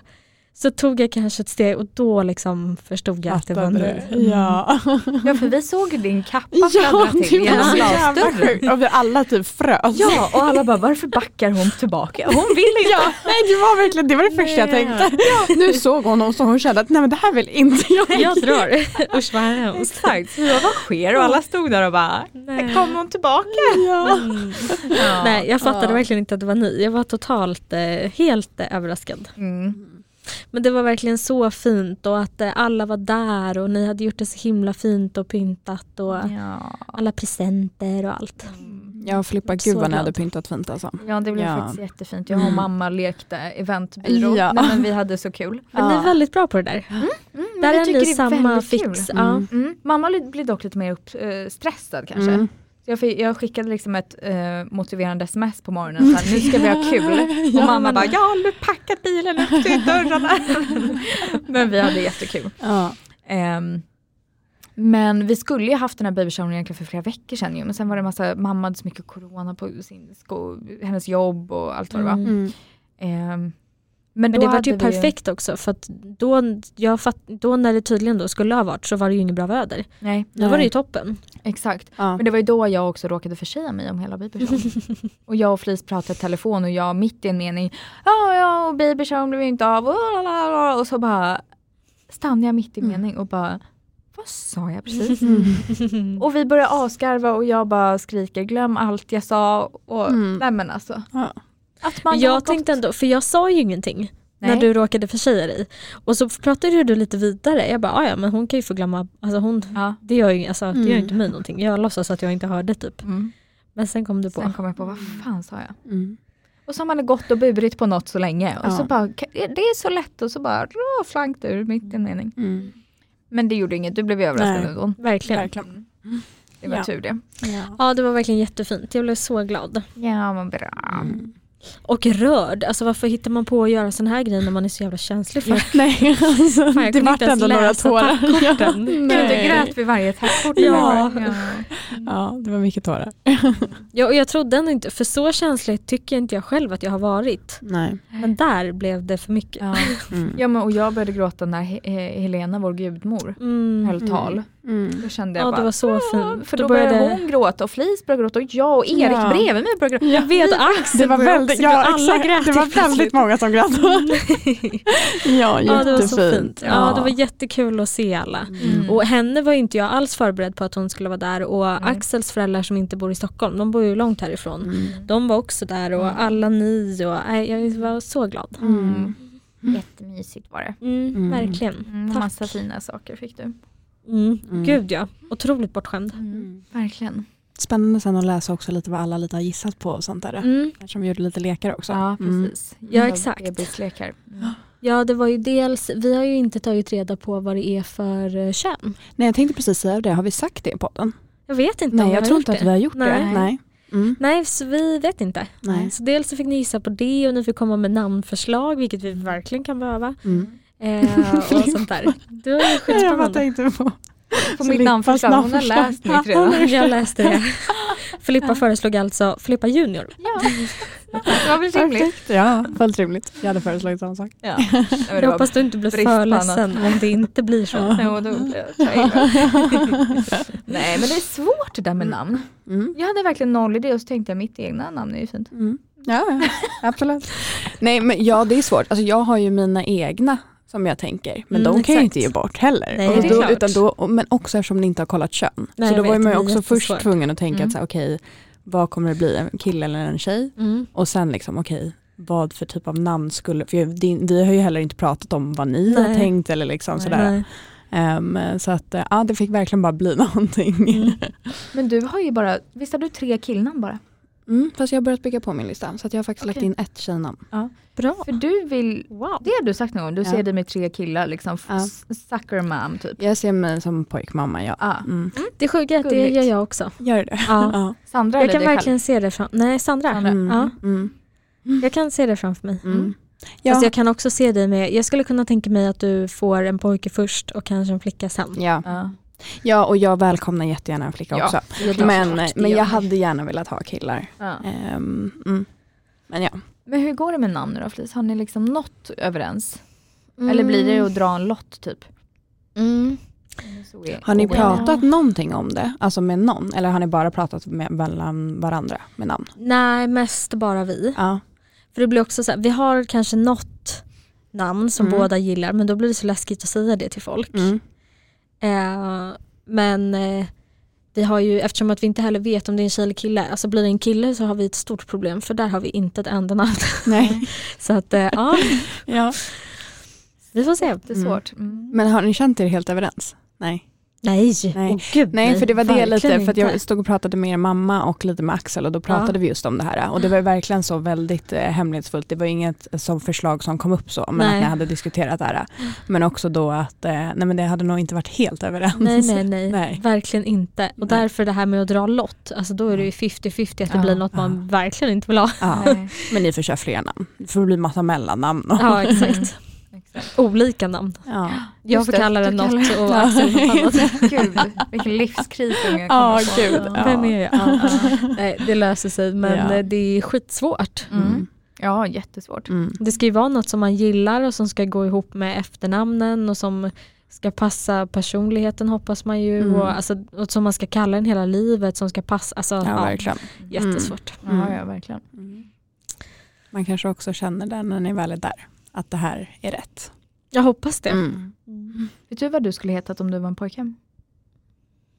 S3: så tog jag kanske ett steg och då liksom förstod jag att det var
S2: Fattade.
S3: nu.
S2: Ja.
S1: Ja för vi såg ju din kappa
S2: Mm. Ja,
S1: fladdra till
S2: det var
S1: genom
S2: så jävla
S1: glasdörren.
S2: sjukt. Och vi alla typ frös.
S1: Ja och alla bara varför backar hon tillbaka? Hon vill inte.
S2: Ja, nej det var verkligen det var det första jag
S1: Nej.
S2: tänkte. Nu såg hon oss och hon kände att nej men det här vill inte jag.
S3: Jag drar. Usch vad hemskt.
S1: Exakt, så vi bara, vad sker? Och alla stod där och bara,
S3: Nej.
S1: kom hon tillbaka?
S2: Ja.
S1: Ja.
S3: Nej, jag fattade
S2: Ja.
S3: verkligen inte att det var ni. Jag var totalt, eh, helt eh, överraskad.
S1: Mm.
S3: Men det var verkligen så fint och att eh, alla var där och ni hade gjort det så himla fint och pyntat och
S1: Ja.
S3: alla presenter och allt.
S2: Ja Filippa,
S3: Så
S2: gud vad ni
S3: glad.
S2: hade pyntat fint alltså.
S1: ja det blev
S2: Ja. Mm.
S1: faktiskt jättefint. Jag och mamma lekte eventbyrå.
S2: Ja.
S1: Nej, men vi hade så kul.
S3: Men ni är väldigt bra på det där.
S1: Mm,
S3: där
S1: vi
S3: är
S1: tycker
S3: ni
S1: det är
S3: samma
S1: väldigt kul.
S3: fix. Ja.
S2: Mm.
S1: Mm. Mamma li- blir dock lite mer uppstressad kanske.
S2: Mm.
S1: Så jag, fick, jag skickade liksom ett eh, motiverande sms på morgonen, så här, nu ska vi ha kul. Och mamma bara, jag har nu packat bilen upp till dörrarna. men vi hade jättekul.
S2: Ja.
S1: Ehm, men vi skulle ju haft den här babyshowern egentligen för flera veckor sedan ju, men sen var det en massa, mamma hade så mycket corona på sin sko, hennes jobb och allt vad det var.
S3: Mm.
S1: Ehm,
S3: Men
S1: då
S3: det var
S1: hade
S3: ju
S1: vi
S3: perfekt också för att då, jag fatt, då när det tydligen då skulle ha varit så var det ju inget bra väder.
S1: Nej,
S3: Då var det
S2: Nej.
S3: ju toppen.
S1: exakt.
S2: Ja.
S1: Men det var ju då jag också råkade försäga mig om hela babyshowen. och jag och Flis pratade i telefon och jag mitt i en mening, ja ja och babyshowen blev ju inte av och, lalalala." och så bara stannade jag mitt i
S2: Mm.
S1: mening och bara, vad sa jag precis?
S3: Mm.
S1: Och vi började asgarva och jag bara skriker glöm allt jag sa. Och,
S2: Mm.
S1: Nej men alltså.
S2: Ja.
S1: Att man har
S3: jag
S1: gått-
S3: tänkte ändå, för jag sa ju ingenting.
S1: Nej.
S3: när du råkade förtjära dig. Och så pratade ju du lite vidare. Jag bara, "Ah, ja men hon kan ju få glömma, alltså hon,
S1: Ja.
S3: det gör ju alltså, det gör
S2: Mm.
S3: inte mig någonting. Jag låtsas att jag inte hörde typ.
S1: Mm.
S3: Men sen kom du på.
S1: Sen kom jag på, vad fan sa jag?
S2: Mm.
S1: Och så har man gått och burit på något så länge och
S2: Ja.
S1: så bara, "Ka- det är så lätt och så bara rå, slank det ur mitt en mening.
S2: Mm.
S1: Men det gjorde inget, du blev överraskad
S2: Nej.
S1: ändå.
S3: Verkligen.
S2: Verkligen.
S1: Det var
S2: Ja.
S1: tur det.
S2: Ja.
S3: Ja det var verkligen jättefint. Jag blev så glad.
S1: Ja men bra.
S2: Mm.
S3: Och rörd. Alltså varför hittar man på att göra sån här grej när man är så jävla känslig för
S2: Nej, alltså,
S3: Fan,
S2: det
S3: jag kunde
S2: vart
S3: inte ens
S2: ändå några
S3: läsa
S2: tårar. Ja.
S3: den?
S1: Gud, du
S2: Nej.
S1: grät vid varje tackkort.
S3: Ja.
S2: ja, det var mycket tårar.
S3: Ja, och jag trodde ändå inte, för så känslig tycker inte jag själv att jag har varit.
S2: Nej.
S3: Men där blev det för mycket.
S1: Ja.
S2: Mm.
S1: ja men och jag började gråta när He- He- Helena, vår gudmor,
S3: Mm.
S1: höll tal.
S2: Mm.
S1: Då kände jag
S3: Ja,
S1: bara, "Ah",
S3: det var så fint.
S1: för då började hon gråta och Flis började gråta och jag och Erik
S2: Ja.
S1: bredvid mig började gråta.
S3: Jag vet, Axel
S2: Det var
S3: började
S2: väldigt,
S3: också
S2: ja,
S3: gråta. alla
S2: exakt,
S3: grät
S2: det var
S3: helt plötsligt.
S2: väldigt många som grät. ja, jättefint.
S3: Ja, det var så fint. Ja.
S2: Ja.
S3: det var jättekul att se alla.
S1: Mm.
S3: Och henne var ju inte jag alls förberedd på att hon skulle vara där och
S1: Nej.
S3: Axels föräldrar som inte bor i Stockholm, de bor ju långt härifrån.
S2: Mm.
S3: De var också där och
S1: Mm.
S3: alla ni och nej, jag var så glad.
S1: Mm. Jättemysigt var det.
S3: Mm,
S2: Mm.
S3: Verkligen.
S1: Mm,
S3: Tack.
S1: massa fina saker fick du.
S3: Mm.
S2: Mm.
S3: Gud ja, otroligt bortskämd.
S2: Mm.
S1: Verkligen.
S2: Spännande sen att läsa också lite vad alla lite har gissat på och sånt där.
S3: Mm.
S2: Eftersom vi gjorde lite lekar också.
S1: Ja,
S2: Mm.
S1: precis.
S3: Ja, exakt.
S1: Bebislekar.
S3: Ja det var ju dels, vi har ju inte tagit reda på vad det är för eh, kön.
S2: Nej, jag tänkte precis säga det. Har vi sagt det i podden?
S3: Jag vet inte om
S2: Nej,
S3: vi
S2: jag
S3: har
S2: tror
S3: gjort
S2: inte
S3: det.
S2: att vi har gjort det.
S3: Nej.
S2: Nej. Mm.
S3: Nej, så vi vet inte.
S2: Nej.
S3: Så dels så fick ni gissa på det och ni fick komma med namnförslag, vilket vi verkligen kan behöva.
S2: Mm.
S3: Eh, och sånt där. Det var ju
S2: Nej, Jag bara
S3: skitspännande.
S2: tänkte på.
S1: På
S2: Så
S1: mitt
S2: Lippas
S1: namnförslag, hon har
S2: namnförslag.
S1: läst mitt redan.
S3: Jag läste det. Filippa föreslog alltså Filippa Junior.
S1: Ja, det var väl rimligt.
S2: Perfekt. Ja, fullt rimligt. Jag hade föreslagit samma sak.
S1: Ja. Nej, men det
S3: Jag
S1: var-
S3: hoppas du inte blir
S1: brist på
S3: för
S1: annat.
S3: ledsen om det inte blir så.
S1: Nej, och då blev jag trailer. Nej men det är svårt det där med namn.
S2: Mm.
S1: Jag hade verkligen noll idé och så tänkte jag mitt egna namn är ju fint.
S2: Mm. Ja, ja, absolut. Nej, men ja, det är svårt. Alltså, jag har ju mina egna som jag tänker, men
S3: Mm,
S2: de kan jag ju
S3: exakt.
S2: inte ge bort heller.
S3: Nej,
S2: och
S1: det är
S2: då,
S3: klart.
S2: utan då, och- men också eftersom ni inte har kollat kön.
S3: Nej,
S2: så då
S3: jag
S2: var ju
S3: vet,
S2: man ju
S3: det blir
S2: också först
S3: jättesvårt.
S2: tvungen att tänka
S1: Mm.
S2: att så här, okej, vad kommer det bli, en kille eller en tjej?
S3: Mm.
S2: Och sen liksom okej, vad för typ av namn skulle, för jag- din, vi har ju heller inte pratat om vad ni har
S3: Nej.
S2: tänkt eller liksom
S1: Nej.
S2: sådär.
S3: Nej.
S2: Ehm, så att eh, ja, det fick verkligen bara bli någonting. Mm.
S3: Mm.
S1: Men du har ju bara, visst har du tre killnamn bara?
S2: Mm, fast jag har börjat bygga på min lista så att jag har faktiskt lagt
S1: Okej.
S2: in ett tjejnamn.
S3: Bra.
S1: För du vill,
S3: Wow.
S1: det har du sagt någon gång, du
S2: Ja.
S1: ser dig med tre killar liksom,
S2: Ja.
S1: ja. sucker mom typ.
S2: Jag ser mig som pojkmamma, ja.
S1: Ja.
S2: Mm.
S3: Det sjuka är att det
S1: Gulligt.
S3: gör jag också.
S2: Gör det?
S3: Ja.
S2: Ja.
S1: Sandra
S3: Jag
S1: eller
S3: kan
S1: dig själv?
S3: verkligen se det fram... Nej, Sandra.
S1: Sandra.
S2: Mm.
S3: Ja.
S2: Mm.
S3: Jag kan se det framför mig.
S2: Mm.
S1: Mm.
S2: Ja.
S3: Fast jag kan också se dig med, jag skulle kunna tänka mig att du får en pojke först och kanske en flicka sen.
S2: Ja.
S1: Ja.
S2: ja, och jag välkomnar jättegärna en flicka
S1: Ja,
S2: också.
S1: såklart.
S2: Men,
S3: det
S2: men
S3: gör
S2: jag
S3: vi.
S2: hade gärna velat ha killar.
S1: Ja.
S2: Ehm, mm. Men ja.
S1: Men hur går det med namn nu då Flis? Har ni liksom nått överens? Eller blir
S2: Mm.
S1: det att dra en lott typ?
S3: Mm.
S1: Så är-
S2: Har ni
S1: Wow.
S2: pratat någonting om det? Alltså med någon? Eller har ni bara pratat med mellan varandra med namn?
S3: Nej, mest bara vi.
S2: Ja.
S3: För det blir också så här, vi har kanske något namn som
S2: Mm.
S3: båda gillar men då blir det så läskigt att säga det till folk.
S2: Mm.
S3: Eh, men eh, vi har ju, eftersom att vi inte heller vet om det är en tjej eller kille, alltså blir det en kille så har vi ett stort problem för där har vi inte ett enda namn.
S2: Nej.
S3: så att eh, ja,
S2: ja.
S3: vi får se.
S1: Det är svårt. Mm.
S2: Men har ni känt er helt överens? Nej.
S3: Nej,
S2: Nej.
S3: Åh, gud,
S2: Nej, för det var det
S3: Verkligen
S2: lite, för att jag
S3: inte.
S2: stod och pratade med er mamma och lite med Axel och då pratade vi just om det här och det
S3: Ah.
S2: var ju verkligen så väldigt eh, hemlighetsfullt, det var ju inget eh, som förslag som kom upp så, men
S3: Nej. Ah.
S2: att ni hade diskuterat det här. Men också då att, eh, nej men det hade nog inte varit helt överens.
S3: Nej, nej, nej,
S2: Nej.
S3: Verkligen inte. Och
S2: Nej.
S3: därför det här med att dra lott, alltså då är det ju 50-50 att det
S1: Ja,
S3: blir något man verkligen inte vill ha.
S2: Ja.
S1: Nej,
S2: Men ni får köra fler namn, det får bli massa mellannamn. Och,
S3: Ja, exakt.
S1: exakt.
S3: Olika namn.
S2: ja.
S3: Jag
S1: Just
S3: får
S1: det,
S3: kalla
S1: du
S3: det något
S1: kallar-
S3: och Axel får kalla det
S1: Gud, vilken livskris unga
S2: Ja,
S1: kommer få.
S2: gud,
S1: Ja.
S2: ja.
S3: Vem är jag? Ja. Nej, det löser sig men
S2: Ja.
S3: eh, det är skitsvårt.
S1: Mm. ja, jättesvårt.
S2: Mm.
S3: Det ska ju vara något som man gillar och som ska gå ihop med efternamnen och som ska passa personligheten hoppas man ju
S2: Mm.
S3: och, alltså, och som man ska kalla en hela livet som ska passa. Alltså,
S2: Ja,
S3: ja,
S2: verkligen.
S3: jättesvårt.
S2: Mm.
S1: Ja, ja, verkligen.
S2: Man kanske också känner det när ni väl är där, att det här är rätt. Mm.
S3: Jag hoppas det.
S1: Vet du vad du skulle hetat om du var en pojke?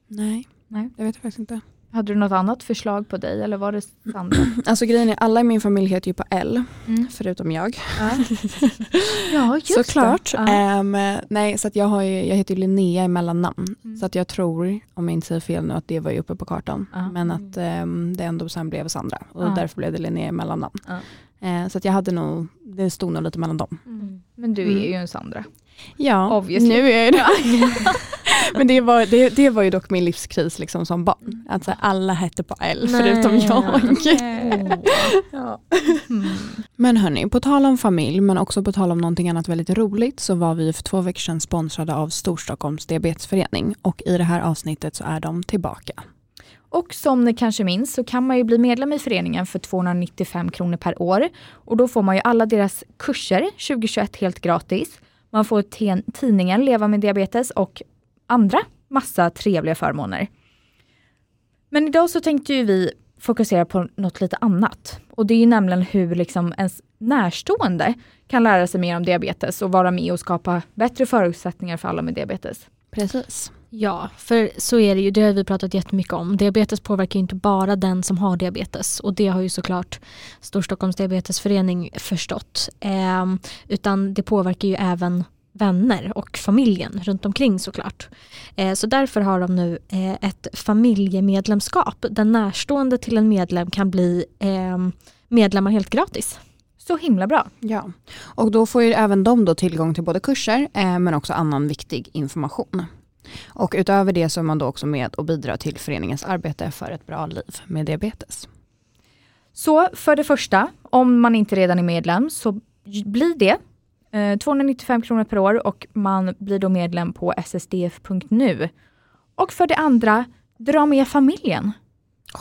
S2: Nej,
S1: Nej.
S2: jag vet jag faktiskt inte.
S1: Jag Hade du något annat förslag på dig eller var det Sandra?
S2: Alltså grejen är, alla i min familj heter ju på L,
S1: Mm.
S2: förutom jag.
S1: Ja. ja, just
S2: Såklart.
S1: det. Ja.
S2: Ehm, nej, så att jag, har ju, jag heter ju Linnea i mellannamn.
S1: Mm.
S2: Så att jag tror, om jag inte säger fel nu, att det var ju uppe på kartan.
S1: Ja. Mm.
S2: Men att ehm, det ändå sen blev Sandra. Och
S1: Ja.
S2: därför blev det Linnea i mellannamn.
S1: Ja.
S2: Ehm, så att jag hade nog, det stod nog lite mellan dem.
S1: Mm. Men du
S2: Mm.
S1: är ju en Sandra.
S2: Ja,
S1: Obviously.
S2: nu är jag det. Men det var, det, det var ju dock min livskris liksom som
S1: Mm.
S2: barn. Att så här, alla hette på L förutom
S3: Nej.
S2: jag.
S3: Åh.
S2: Ja.
S1: Mm.
S2: Men hörni, på tal om familj men också på tal om någonting annat väldigt roligt så var vi för två veckor sedan sponsrade av Storstockholms diabetesförening och i det här avsnittet så är de tillbaka.
S1: Och som ni kanske minns så kan man ju bli medlem i föreningen för 295 kronor per år. Och då får man ju alla deras kurser 2021 helt gratis. Man får te- tidningen Leva med diabetes och andra massa trevliga förmåner. Men idag så tänkte ju vi fokusera på något lite annat. Och det är ju nämligen hur liksom ens närstående kan lära sig mer om diabetes och vara med och skapa bättre förutsättningar för alla med diabetes.
S2: Precis.
S3: Ja, för så är det ju. Det har vi pratat jättemycket om. Diabetes påverkar ju inte bara den som har diabetes och det har ju såklart Storstockholms diabetesförening förstått. Ehm, utan det påverkar ju även vänner och familjen runt omkring såklart. Eh, så därför har de nu eh, ett familjemedlemskap där närstående till en medlem kan bli ehm, medlemmar helt gratis.
S1: Så himla bra.
S2: Ja, och då får ju även de då tillgång till både kurser eh, men också annan viktig information. Och utöver det så är man då också med och bidrar till föreningens arbete för ett bra liv med diabetes.
S1: Så för det första, om man inte redan är medlem så j- blir det eh, 295 kronor per år och man blir då medlem på ssdf.nu. Och för det andra, dra med familjen,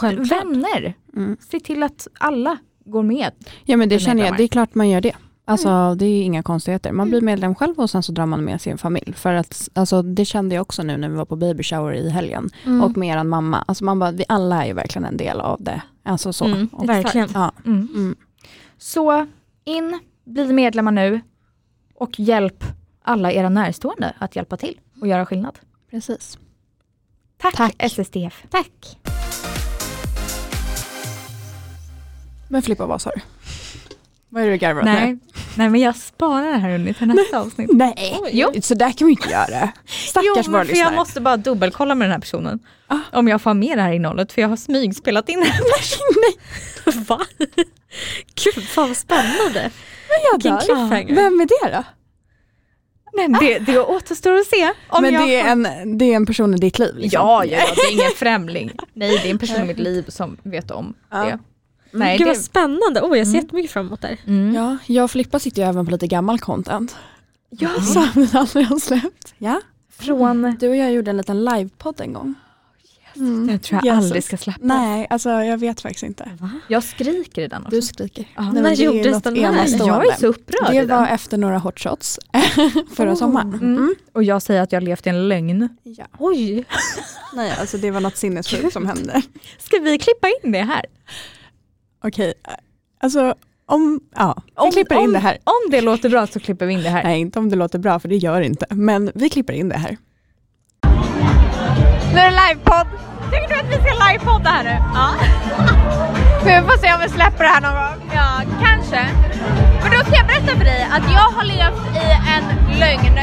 S1: vänner.
S2: Mm.
S1: Se till att alla går med.
S2: Ja men det
S1: Eller
S2: känner jag,
S1: medlemmar.
S2: det är klart man gör det. Alltså det är inga konstigheter. Man blir medlem själv och sen så drar man med sin familj. För att alltså, det kände jag också nu när vi var på baby shower i helgen. Och med eran mamma. Alltså man bara, vi alla är ju verkligen en del av det. Alltså så.
S3: Mm,
S2: Och,
S3: verkligen.
S2: ja.
S1: Mm.
S2: Mm.
S1: Så in, bli medlemmar nu och hjälp alla era närstående att hjälpa till och göra skillnad.
S2: Precis.
S1: Tack,
S2: Tack.
S1: SSDF.
S3: Tack.
S2: Men Filippa, vad sa du? Vad är det du garvar åt nu?
S1: Nej. Nej, men jag sparar det här under till nästa avsnitt.
S2: Nej.
S1: Jo.
S2: Så där kan vi inte göra.
S1: Jo,
S2: Stackars våra
S1: men för jag
S2: lyssnare. Ah.
S1: måste bara dubbelkolla med den här personen. Om jag får med det här innehållet, för jag har smygspelat in det här.
S3: Va? Gud, fan vad spännande. Vilken cliffhanger.
S2: Vem är det då?
S1: Nej, det, det återstår att se. Om
S2: men
S1: jag
S2: det är, en, det är en person i ditt liv? liksom.
S1: Ja, ja, ja, det är ingen främling. Nej, det är en person i mitt liv som vet om
S2: Ja. Mm.
S1: det. Nej,
S3: Gud
S1: det,
S3: vad spännande. Oh, jag ser jättemycket fram emot det här.
S1: mm.
S2: Ja, jag och Filippa sitter ju även på lite gammal content.
S1: Ja.
S2: Som vi aldrig har släppt. Ja.
S1: Från...
S2: Du och jag gjorde en liten livepodd en gång. Mm.
S1: Den Oh, tror jag
S2: Jesus.
S1: aldrig ska släppa.
S2: Nej, alltså jag vet faktiskt inte.
S1: Jag skriker i den också.
S2: Du skriker.
S1: Ja.
S2: men
S3: När
S2: det är
S3: gjordes
S2: något
S3: den här?
S2: enastående.
S1: jag är så upprörd i
S2: Det
S1: den.
S2: var efter några hot shots förra
S1: Oh.
S2: sommaren.
S1: Mm. Och jag säger att jag levt i en lögn.
S2: Ja.
S3: Oj.
S2: Nej, alltså det var något sinnessjukt som hände.
S1: Ska vi klippa in det här?
S2: Okej, alltså om, ja, vi
S1: Om-
S2: klipper in det här.
S1: Om det låter bra så klipper vi in det här.
S2: Nej, inte om det låter bra för det gör det inte. Men vi klipper in det här.
S4: Nu är det livepodd! Tycker du att vi ska livepodda här nu? Ja. Vi får se om vi släpper det här någon gång. Ja, kanske. Men då ska jag berätta för dig att jag har levt i en lögn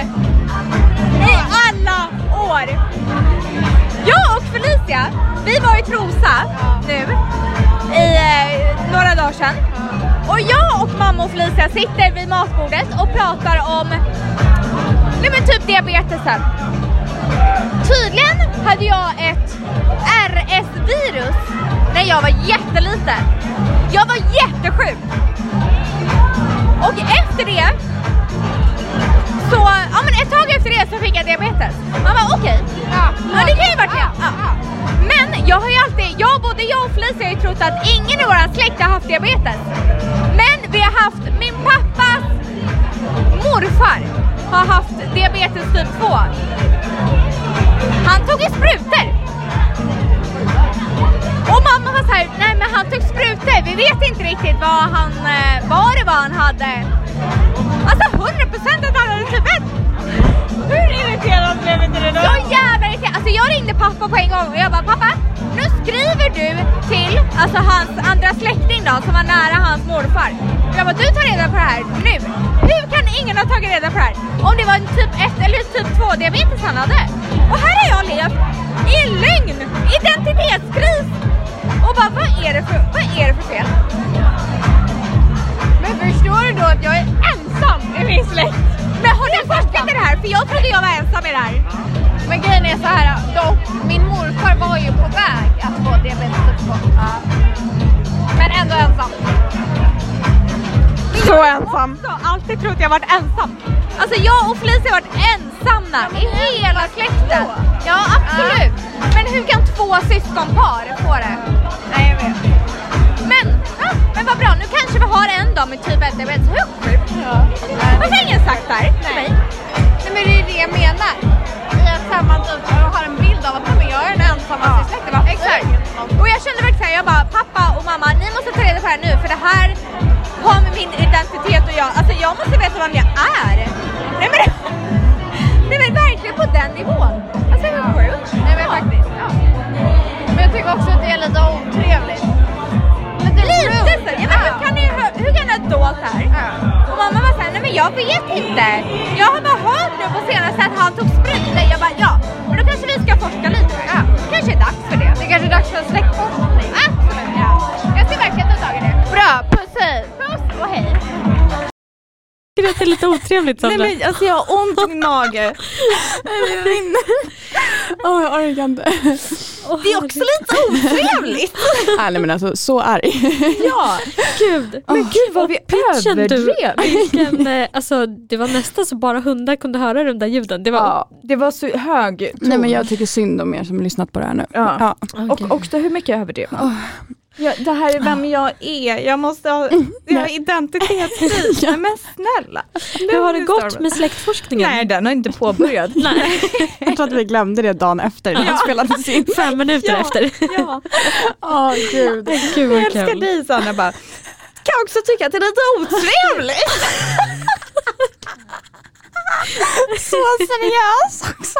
S4: i alla år. Jag och Felicia, vi var i Trosa nu i eh, några dagar sedan. Och jag och mamma och Felicia sitter vid matbordet och pratar om nej men typ diabetesen. Tydligen hade jag ett RS-virus när jag var jätteliten. Jag var jättesjuk. Och efter det så, ja men ett tag efter det så fick jag diabetes. Man bara okej, ja, det kan ju varit det. Ja. Men jag har ju alltid, jag, både jag och Felicia har ju trott att ingen i våran släkt har haft diabetes. Men vi har haft min pappas morfar har haft diabetes typ 2. Han tog ju sprutor! Och mamma var såhär, nej men han tog sprutor, vi vet inte riktigt vad han, eh, vad det var han hade. Alltså 100% att han hade typ ett. Hur irriterad blev inte du då? Så jävla irriterad. Alltså jag ringde pappa på en gång och jag bara, pappa nu skriver du till alltså, hans andra släkting då, som var nära hans morfar? Jag bara, du tar reda på det här nu. Hur kan ingen ha tagit reda på det här? Om det var en typ 1 eller typ 2 diabetes han hade. Och här har jag levt i en lögn, identitetskris. Och bara, vad är det för, vad är det för fel? Men förstår du då att jag är ensam i min släkt? Men har ni forskat i det här? För jag trodde jag var ensam i det här.
S5: Men grejen är så här, dock, min morfar var ju på väg att få diabetes typ 2. Men ändå ensam.
S4: Så ensam. Jag har också alltid trott jag varit ensam. Alltså jag och Felicia har varit ensamma i hela släkten. Ja absolut. Men hur kan två syskonpar få det? Nej jag vet. Men, ja, men vad bra, nu kanske vi har en dag med typ 1 diabetes. Hur sjukt? Varför har ingen sagt det här till mig?
S5: Nej men det är det jag menar. I att här, man typ har en bild av att nej, men jag är den ensamma i släkten. Varför
S4: Exakt.
S5: säger ingen något?
S4: Och jag kände verkligen såhär, jag bara pappa och mamma ni måste ta reda på det här nu för det här har med min identitet och jag, alltså jag måste veta vem jag är. Nej men det, det är verkligen på den nivån. Alltså hur sjukt?
S5: Nej men faktiskt. Ja. Men jag tycker också att det är lite otrevligt. Lite
S4: Lite så,
S5: runt.
S4: jag menar, hur kan ni, hur, hur kan ni ha dolt det här? Och mamma var såhär, nej men jag vet inte. Jag har bara hört nu på senaste att han tog sprit. Nej, Jag bara ja, men då kanske vi ska forska lite. Ja. kanske är dags för det.
S5: Det kanske är dags för en släktforskning.
S4: Absolut. Ja. Jag ska verkligen ta tag i det.
S5: Bra, puss hej!
S4: Puss och hej.
S6: Det låter lite otrevligt Sandra.
S2: Nej men alltså jag har ont i min mage. Åh jag orkar inte.
S1: Det är också lite otrevligt.
S2: Ah, nej men alltså så arg.
S1: ja,
S3: Gud!
S1: men gud vad vi
S3: pitchen du-
S1: överdrev.
S3: Vilken, eh, alltså, det var nästan så bara hundar kunde höra de där ljuden. Det var,
S2: Ja.
S1: Det var så hög ton.
S2: Nej men jag tycker synd om er som har lyssnat på det här nu.
S1: Ja.
S2: Ja.
S3: Okej.
S1: Och också hur mycket jag överdrev. Ja, det här är vem jag är, jag måste ha jag har identitetskris. Nej men snälla.
S3: Hur har det
S1: Lugn,
S3: gått
S1: Stormen.
S3: med släktforskningen?
S1: Nej den har inte påbörjats.
S3: Nej.
S2: Jag tror att vi glömde det dagen efter när ja. spelades in.
S3: Fem minuter
S1: Ja.
S3: efter.
S1: Ja.
S2: Åh gud.
S3: Gud
S1: Jag
S3: vad
S1: älskar
S3: kul.
S1: dig Sanna bara. Kan också tycka att det är lite otrevligt.
S2: Så seriös också.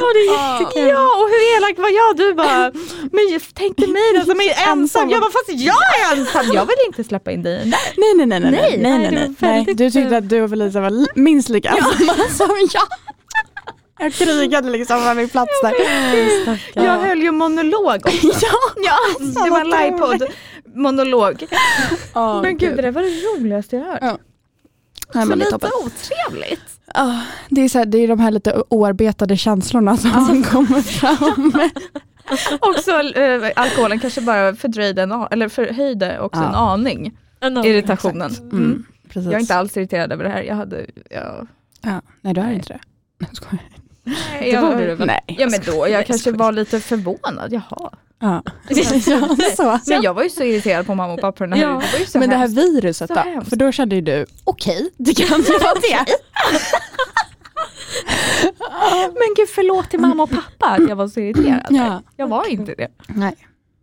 S3: Ja, det är jättekul.
S1: Ja och hur elak var jag? Du bara, men tänk dig mig då som är ensam. Jag bara fast jag är ensam. Jag vill inte släppa in dig.
S2: Nej nej nej nej. nej, nej, nej,
S3: det
S2: nej.
S3: var väldigt
S2: Du tyckte att du och Felicia var li- minst lika ensamma som jag. Jag krigade liksom för min plats där.
S1: Jag höll ju monolog också. alltså,
S2: Ja, alltså,
S1: Det var en livepodd monolog.
S2: Oh,
S1: Men gud det där var det roligaste jag hört.
S2: Ja, Nej,
S1: Så
S2: men det, är
S1: lite
S2: toppen.
S1: otrevligt.
S2: Ja, det, är så här, det är de här lite oarbetade känslorna som kommer fram.
S1: Också eh, alkoholen kanske bara fördröjde en, a- eller förhöjde också
S2: Ja.
S1: en aning
S3: En av-
S1: irritationen. Mm.
S2: Precis.
S1: Jag är inte alls irriterad över det här. Jag hade, ja,
S2: ja. Nej du är inte det. Jag skojar.
S1: det jag,
S2: borde du väl? Nej.
S1: Ja men då, jag
S2: jag
S1: kanske
S2: skojar.
S1: var lite förvånad, jaha.
S2: Ja. ja, så.
S1: Men jag var ju så irriterad på mamma och pappa för den här,
S3: Ja.
S1: det var ju så
S2: men det här
S1: hemskt.
S2: viruset
S1: Så
S2: då?
S1: hemskt.
S2: För då kände ju du, okej, det kan ju vara det.
S1: Men gud förlåt till mamma och pappa att jag var så irriterad.
S2: Ja.
S1: Jag var inte det.
S2: Nej.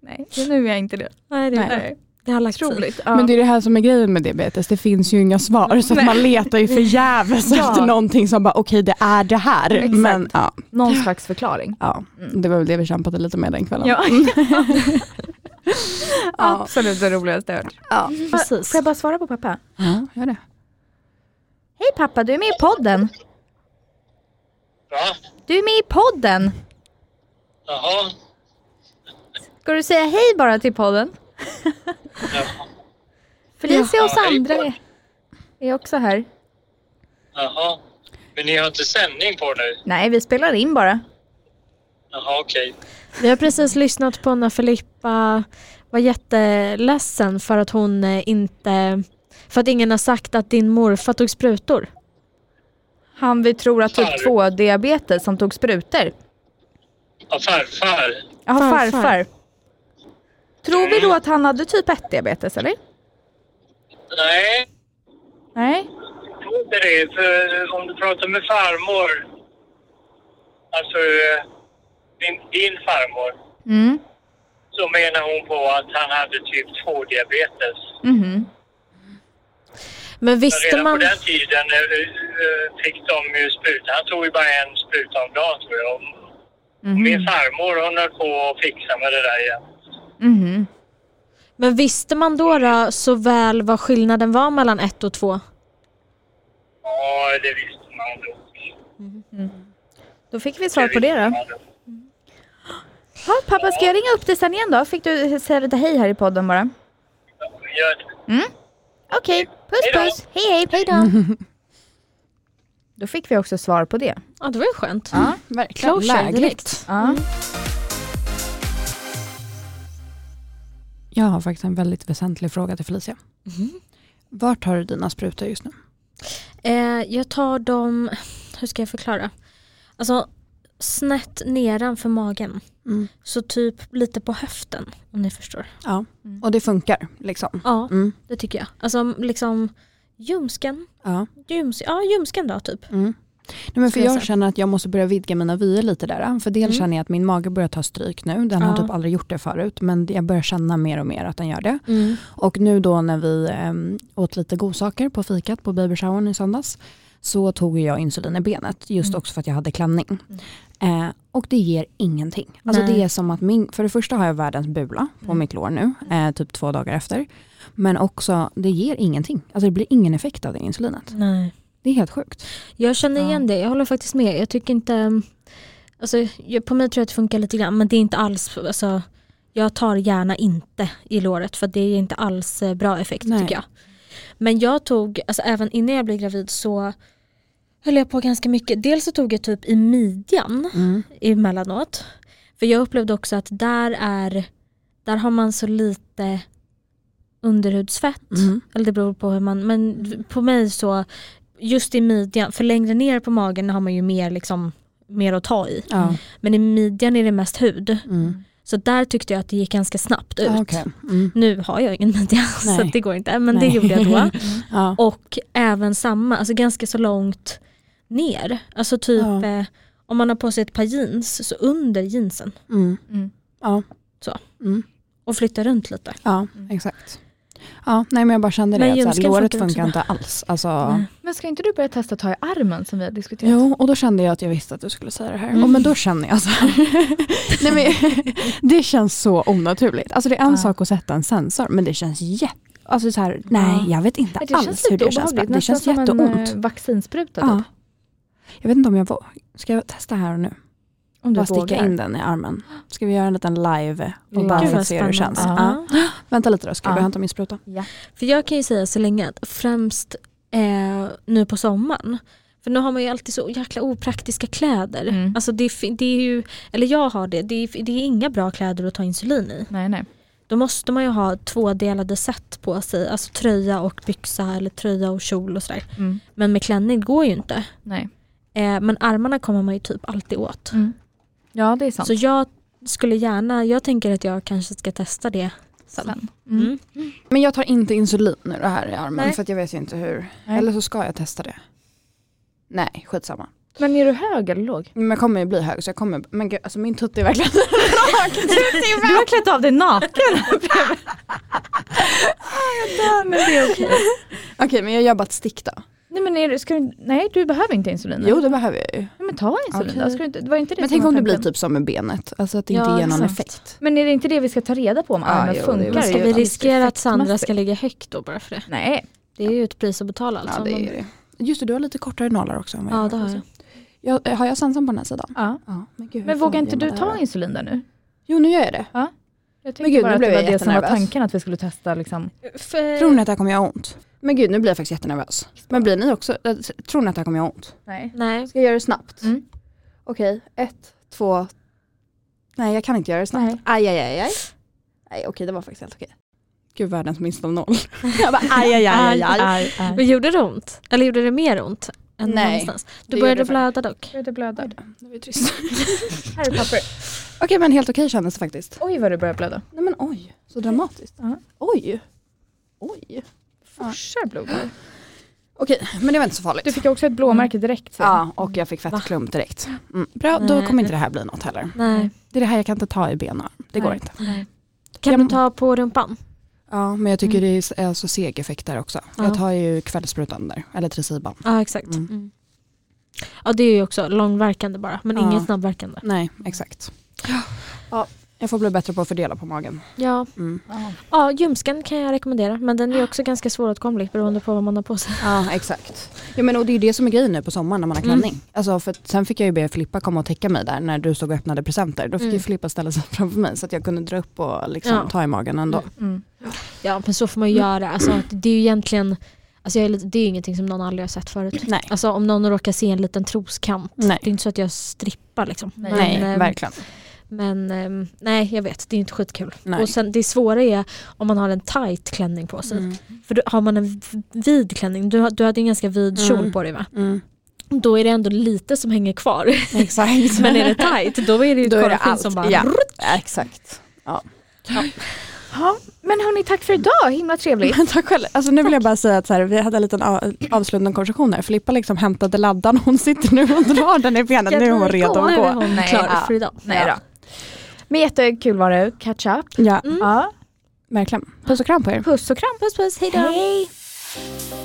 S1: Nej, nu är jag inte det.
S3: Nej, det, är bra.
S1: Nej,
S3: det har lagt sig.
S1: otroligt. Ja.
S2: Men det är det här som är grejen med diabetes, det finns ju inga svar så att man letar ju förgäves
S1: Ja.
S2: efter någonting som bara okej det är det här.
S1: Exakt.
S2: Men ja,
S1: Någon slags förklaring.
S2: ja.
S1: Mm.
S2: det var väl det vi kämpade lite med den kvällen.
S1: Ja.
S2: Ja.
S1: Absolut det roligaste jag hört.
S2: Ja,
S1: Får jag bara svara på pappa?
S2: Ja, gör det.
S1: Hej pappa, du är med i podden.
S7: Ja,
S1: Du är med i podden.
S7: jaha.
S1: Ska du säga hej bara till podden?
S7: Jaha.
S1: Felicia och
S7: Ja, hej
S1: Sandra
S7: på
S1: är- är också här.
S7: jaha. Men ni har inte sändning på nu?
S1: Nej, vi spelar in bara.
S7: Jaha, okej.
S3: Vi har precis lyssnat på när Filippa var jätteledsen för att hon eh, inte för att ingen har sagt att din morfar tog sprutor.
S1: Han vi tror att typ
S7: Farfar.
S1: 2-diabetes som tog sprutor.
S7: Ja, farfar.
S1: Ja,
S3: Farfar.
S1: farfar. Tror vi då att han hade typ 1-diabetes eller?
S7: Nej,
S1: Nej.
S7: jag tror inte det. För eh, om du pratar med farmor, alltså eh, din, din farmor,
S1: Mm.
S7: så menar hon på att han hade typ 2-diabetes.
S1: Mhm.
S3: Men
S7: Men
S3: visste
S7: Redan
S3: man...
S7: på den tiden eh, eh, fick de ju spruta. Han tog ju bara en spruta om dagen, tror jag. Om-
S3: Mhm.
S7: Min farmor hon höll på att fixa med det där igen.
S1: Mhm.
S6: Men visste man då, då så väl vad skillnaden var mellan ett och två?
S7: Ja, det visste man då.
S1: Då fick vi svar på det då.
S7: då?
S1: Ja, pappa, ska jag ringa upp dig sen igen då? Fick du säga lite hej här i podden bara?
S7: Gör det.
S1: Okej, puss
S7: Hej då.
S1: puss. Hej hej. Hej då. Då fick vi också svar på det. Mm.
S6: Ja, det var ju skönt.
S2: Verkligen.
S6: Closure
S2: Lägligt.
S6: direkt.
S1: Ja.
S2: Jag har faktiskt en väldigt väsentlig fråga till Felicia. Vart har du dina sprutor just nu?
S3: Eh, jag tar dem, hur ska jag förklara? Alltså snett nedanför magen.
S2: Mm.
S3: Så typ lite på höften om ni förstår.
S2: Ja, och det funkar liksom.
S3: Ja,
S2: Mm.
S3: det tycker jag. Alltså liksom ljumsken.
S2: Ja.
S3: Ljums, ja, ljumsken då typ.
S2: Mm. Nej, men för
S3: Ska jag
S2: jag
S3: säga.
S2: känner att jag måste börja vidga mina vyer lite där. äh, För dels
S3: Mm.
S2: känner jag att min mage börjar ta stryk nu. Den har
S3: Ja.
S2: typ aldrig gjort det förut men jag börjar känna mer och mer att den gör det. Och nu då när vi ehm, åt lite godsaker på fikat på babyshowern i söndags så tog jag insulin i benet just
S3: Mm.
S2: också för att jag hade klänning. Eh, och det ger ingenting. Alltså
S3: Nej. Mm.
S2: det är som att min, för det första har jag världens bula på mitt lår nu, eh, typ två dagar efter. Men också, det ger ingenting. Alltså det blir ingen effekt av det insulinet.
S3: Nej.
S2: Det är helt sjukt.
S3: Jag känner igen det, jag håller faktiskt med. Jag tycker inte, mm, alltså jag, på mig tror jag att det funkar lite grann men det är inte alls, alltså jag tar gärna inte i låret för det är inte alls eh, bra effekt
S2: Nej.
S3: tycker jag. Men jag tog, alltså även innan jag blev gravid så höll jag på ganska mycket. Dels så tog jag typ i midjan emellanåt. För jag upplevde också att där är, där har man så lite underhudsfett.
S2: Mm.
S3: Eller det beror på hur man, men på mig så, just i midjan, för längre ner på magen har man ju mer liksom mer att ta i.
S2: Ja.
S3: Men i midjan är det mest hud.
S2: Mm.
S3: Så där tyckte jag att det gick ganska snabbt ut.
S2: Ja, Okej. Mm.
S3: Nu har jag ingen midja så
S2: Nej.
S3: att det går inte, men
S2: Nej.
S3: det gjorde jag då.
S2: Ja.
S3: Och även samma, alltså ganska så långt ner. Alltså typ
S2: Ja.
S3: eh, om man har på sig ett par jeans, så under jeansen.
S2: Mm.
S1: Mm.
S2: Ja.
S3: Så.
S2: Mm.
S3: Och flytta runt lite.
S2: Ja, exakt. Ja, nej men jag bara kände det.
S3: Men
S2: att så här,
S3: ljumsken
S2: låret
S3: funkar också
S2: funkar inte
S3: bra.
S2: alls. Alltså,
S3: Nej.
S1: Men ska inte du börja testa att ta i armen som vi har diskuterat?
S2: Jo, och då kände jag att jag visste att du skulle säga det här. Och men då känner jag så här. Nej, men, det känns så onaturligt. Alltså det är en
S1: Ja.
S2: sak att sätta en sensor, men det känns jätte... Alltså så här, nej jag vet inte
S1: Men
S2: alls hur det känns.
S1: obehagligt,
S2: Det känns
S1: nästan som en
S2: jätteont.
S1: eh, vaccinspruta
S2: Ja.
S1: typ.
S2: Jag vet inte om jag vågar. Ska jag testa här och nu?
S1: Om du
S2: Bara sticka
S1: vågar.
S2: in den i armen. Ska vi göra en liten live och
S1: Gud,
S2: bara
S3: Gud
S2: för att
S3: vad
S2: se hur det
S3: spännande.
S2: känns? Ja.
S3: Ja.
S2: Vänta lite då, ska jag
S1: Ja.
S2: börja hämta min spruta?
S3: För jag kan ju säga så länge att främst eh, nu på sommaren, för nu har man ju alltid så jäkla opraktiska kläder.
S1: Mm.
S3: Alltså det, är fi- det är ju, eller jag har det, det är, det är inga bra kläder att ta insulin i.
S1: Nej, nej.
S3: Då måste man ju ha tvådelade set på sig, alltså tröja och byxa eller tröja och kjol och sådär.
S1: Mm.
S3: Men med klänning går ju inte.
S1: nej.
S3: Eh, men armarna kommer man ju typ alltid åt.
S1: Mm. Ja, det är sant.
S3: Så jag skulle gärna, jag tänker att jag kanske ska testa det.
S1: Sen.
S3: Mm.
S1: Mm.
S2: Men jag tar inte insulin nu det här i armen
S3: Nej.
S2: för att jag vet ju inte hur.
S1: Nej.
S2: Eller så ska jag testa det. Nej, skitsamma.
S1: Men är du hög eller låg?
S2: Men jag kommer ju bli hög så jag kommer, men gud, alltså min tutt är verkligen
S1: Du har klätt av dig naken.
S2: Ah,
S1: Men det är okej.
S2: Okej men jag gör bara ett stick då.
S1: Nej, men är, du- ska du, nej, du behöver inte insulin.
S2: Jo det behöver jag ju.
S1: Nej, men ta insulin
S2: Okej.
S1: då. Ska du inte, det var inte det
S2: Men
S1: som
S2: tänk
S1: var
S2: om det blir
S1: tanken.
S2: typ som med benet, alltså att det inte
S3: Ja,
S2: ger någon
S3: exakt.
S2: effekt.
S1: Men är det inte det vi ska ta reda på om
S2: Ja,
S1: armen
S2: Ah, jo, det är
S1: funkar?
S2: väl-
S3: Ska vi
S1: utan-
S3: riskera att Sandra ska
S1: effektmässigt?
S3: ligga högt då bara för det?
S1: Nej,
S3: Det är ju ett pris att betala alltså.
S2: Ja, det är det. Just det, du har lite kortare nålar också än vad jag
S3: Ja, det har jag.
S2: jag. eh, Har jag sensorn på den här sidan?
S1: ja.
S2: Ja. Men, gud, hur
S1: Men
S2: fan
S1: vågar
S2: gör
S1: inte
S2: man
S1: du
S2: det
S1: ta
S2: här?
S1: insulin där nu?
S2: Jo nu gör jag det.
S1: Jag
S2: Men
S1: tänkte
S2: gud,
S1: bara
S2: nu
S1: att det
S2: blev
S1: var
S2: jag
S1: det som var
S2: jättenervös.
S1: tanken att vi skulle testa liksom.
S2: Tror ni att det här kommer göra ont? Men gud nu blir jag faktiskt jättenervös. Men blir ni också, eh, tror ni att det här kommer göra ont?
S1: Nej.
S3: Nej.
S2: Ska jag göra det snabbt?
S1: Mm.
S2: Okej, ett, två. Nej, jag kan inte göra det snabbt.
S1: Nej.
S2: Aj, aj, aj, aj. Nej, okej, det var faktiskt helt okej. Gud, världens minst av noll. jag bara, aj, aj, aj, aj, aj.
S1: Aj, aj.
S3: Men gjorde det ont? Eller gjorde det mer ont? Än
S2: Nej,
S3: Nej. Någonstans?
S2: det
S3: Du
S2: gjorde
S3: började
S2: det
S3: blöda dock.
S1: Började blöda.
S2: Det var ju trist.
S1: Här är papper.
S2: okej, men helt okej kändes det faktiskt.
S1: Oj vad du börjar blöda.
S2: Nej, men oj, så dramatiskt.
S1: Ja.
S2: Oj. Oj.
S1: Forsar blod. här.
S2: Okej, men det var inte så farligt.
S1: Du fick också ett blåmärke direkt. sen.
S2: Ja, och jag fick fettklump direkt. Mm. Bra, då
S3: Nej.
S2: kommer inte det här bli något heller.
S3: Nej.
S2: Det är det här jag kan inte ta i ben och arm. Det går
S1: Nej.
S2: inte.
S3: Kan
S2: Jag-
S3: du ta på rumpan?
S2: Ja, men jag tycker det är alltså seg effekt där också.
S3: Ja.
S2: Jag tar ju kvällssprutan där, eller Tresiban.
S3: Ja exakt.
S2: Mm.
S3: Mm. Ja det är ju också långverkande bara men
S2: Ja.
S3: inget snabbverkande.
S2: Nej, exakt. Ja, jag får bli bättre på att fördela på magen.
S3: Ja.
S2: Mm.
S3: ja, ljumsken kan jag rekommendera men den är också ganska svåråtkomlig beroende på vad man har på sig.
S2: Ja, exakt. Ja, men, och det är ju det som är grejen nu på sommaren när man har
S3: Mm.
S2: klänning. Alltså, för att sen fick jag ju be Filippa komma och täcka mig där när du stod och öppnade presenter. Då fick ju Filippa ställa sig framför mig så att jag kunde dra upp och liksom,
S3: Mm. Ja. Mm.
S2: ta i magen ändå.
S1: Mm.
S3: Ja men så får man ju göra. Alltså, att det är ju egentligen, alltså, jag är lite, det är ju ingenting som någon aldrig har sett förut.
S2: Nej.
S3: Alltså om någon råkar se en liten troskant.
S2: Nej.
S3: Det är inte så att jag strippar liksom.
S2: Nej,
S3: ehm,
S2: verkligen.
S3: Men ehm, nej jag vet, det är inte skitkul.
S2: Nej.
S3: Och sen det svåra är om man har en tight klänning på
S2: Mm.
S3: sig. För då, har man en v- vid klänning, du, har- du hade en ganska vid kjol på dig va?
S2: Mm.
S3: Då är det ändå lite som hänger kvar.
S2: Exakt.
S3: Men är det tight då är det ju
S2: Då är det
S3: koraffin
S2: allt.
S3: som bara...
S2: Ja, exakt. Ja.
S1: Ja, men hörni, tack för idag. Himla trevligt.
S2: Men tack själv. Alltså, nu vill jag bara säga att så här, vi hade en liten a- avslutande konversation här. Filippa liksom hämtade laddan, hon sitter nu och drar den i benet. Nu är hon redo
S3: Nu
S2: att
S3: är
S2: gå.
S3: hon
S1: Nej,
S3: klar
S1: ja.
S3: för idag.
S1: Nej då. Men jättekul var det. Catch up.
S2: Ja,
S1: Ja.
S2: verkligen. Puss och kram på er.
S1: Puss och kram.
S3: Puss puss, hejdå.
S1: Hej.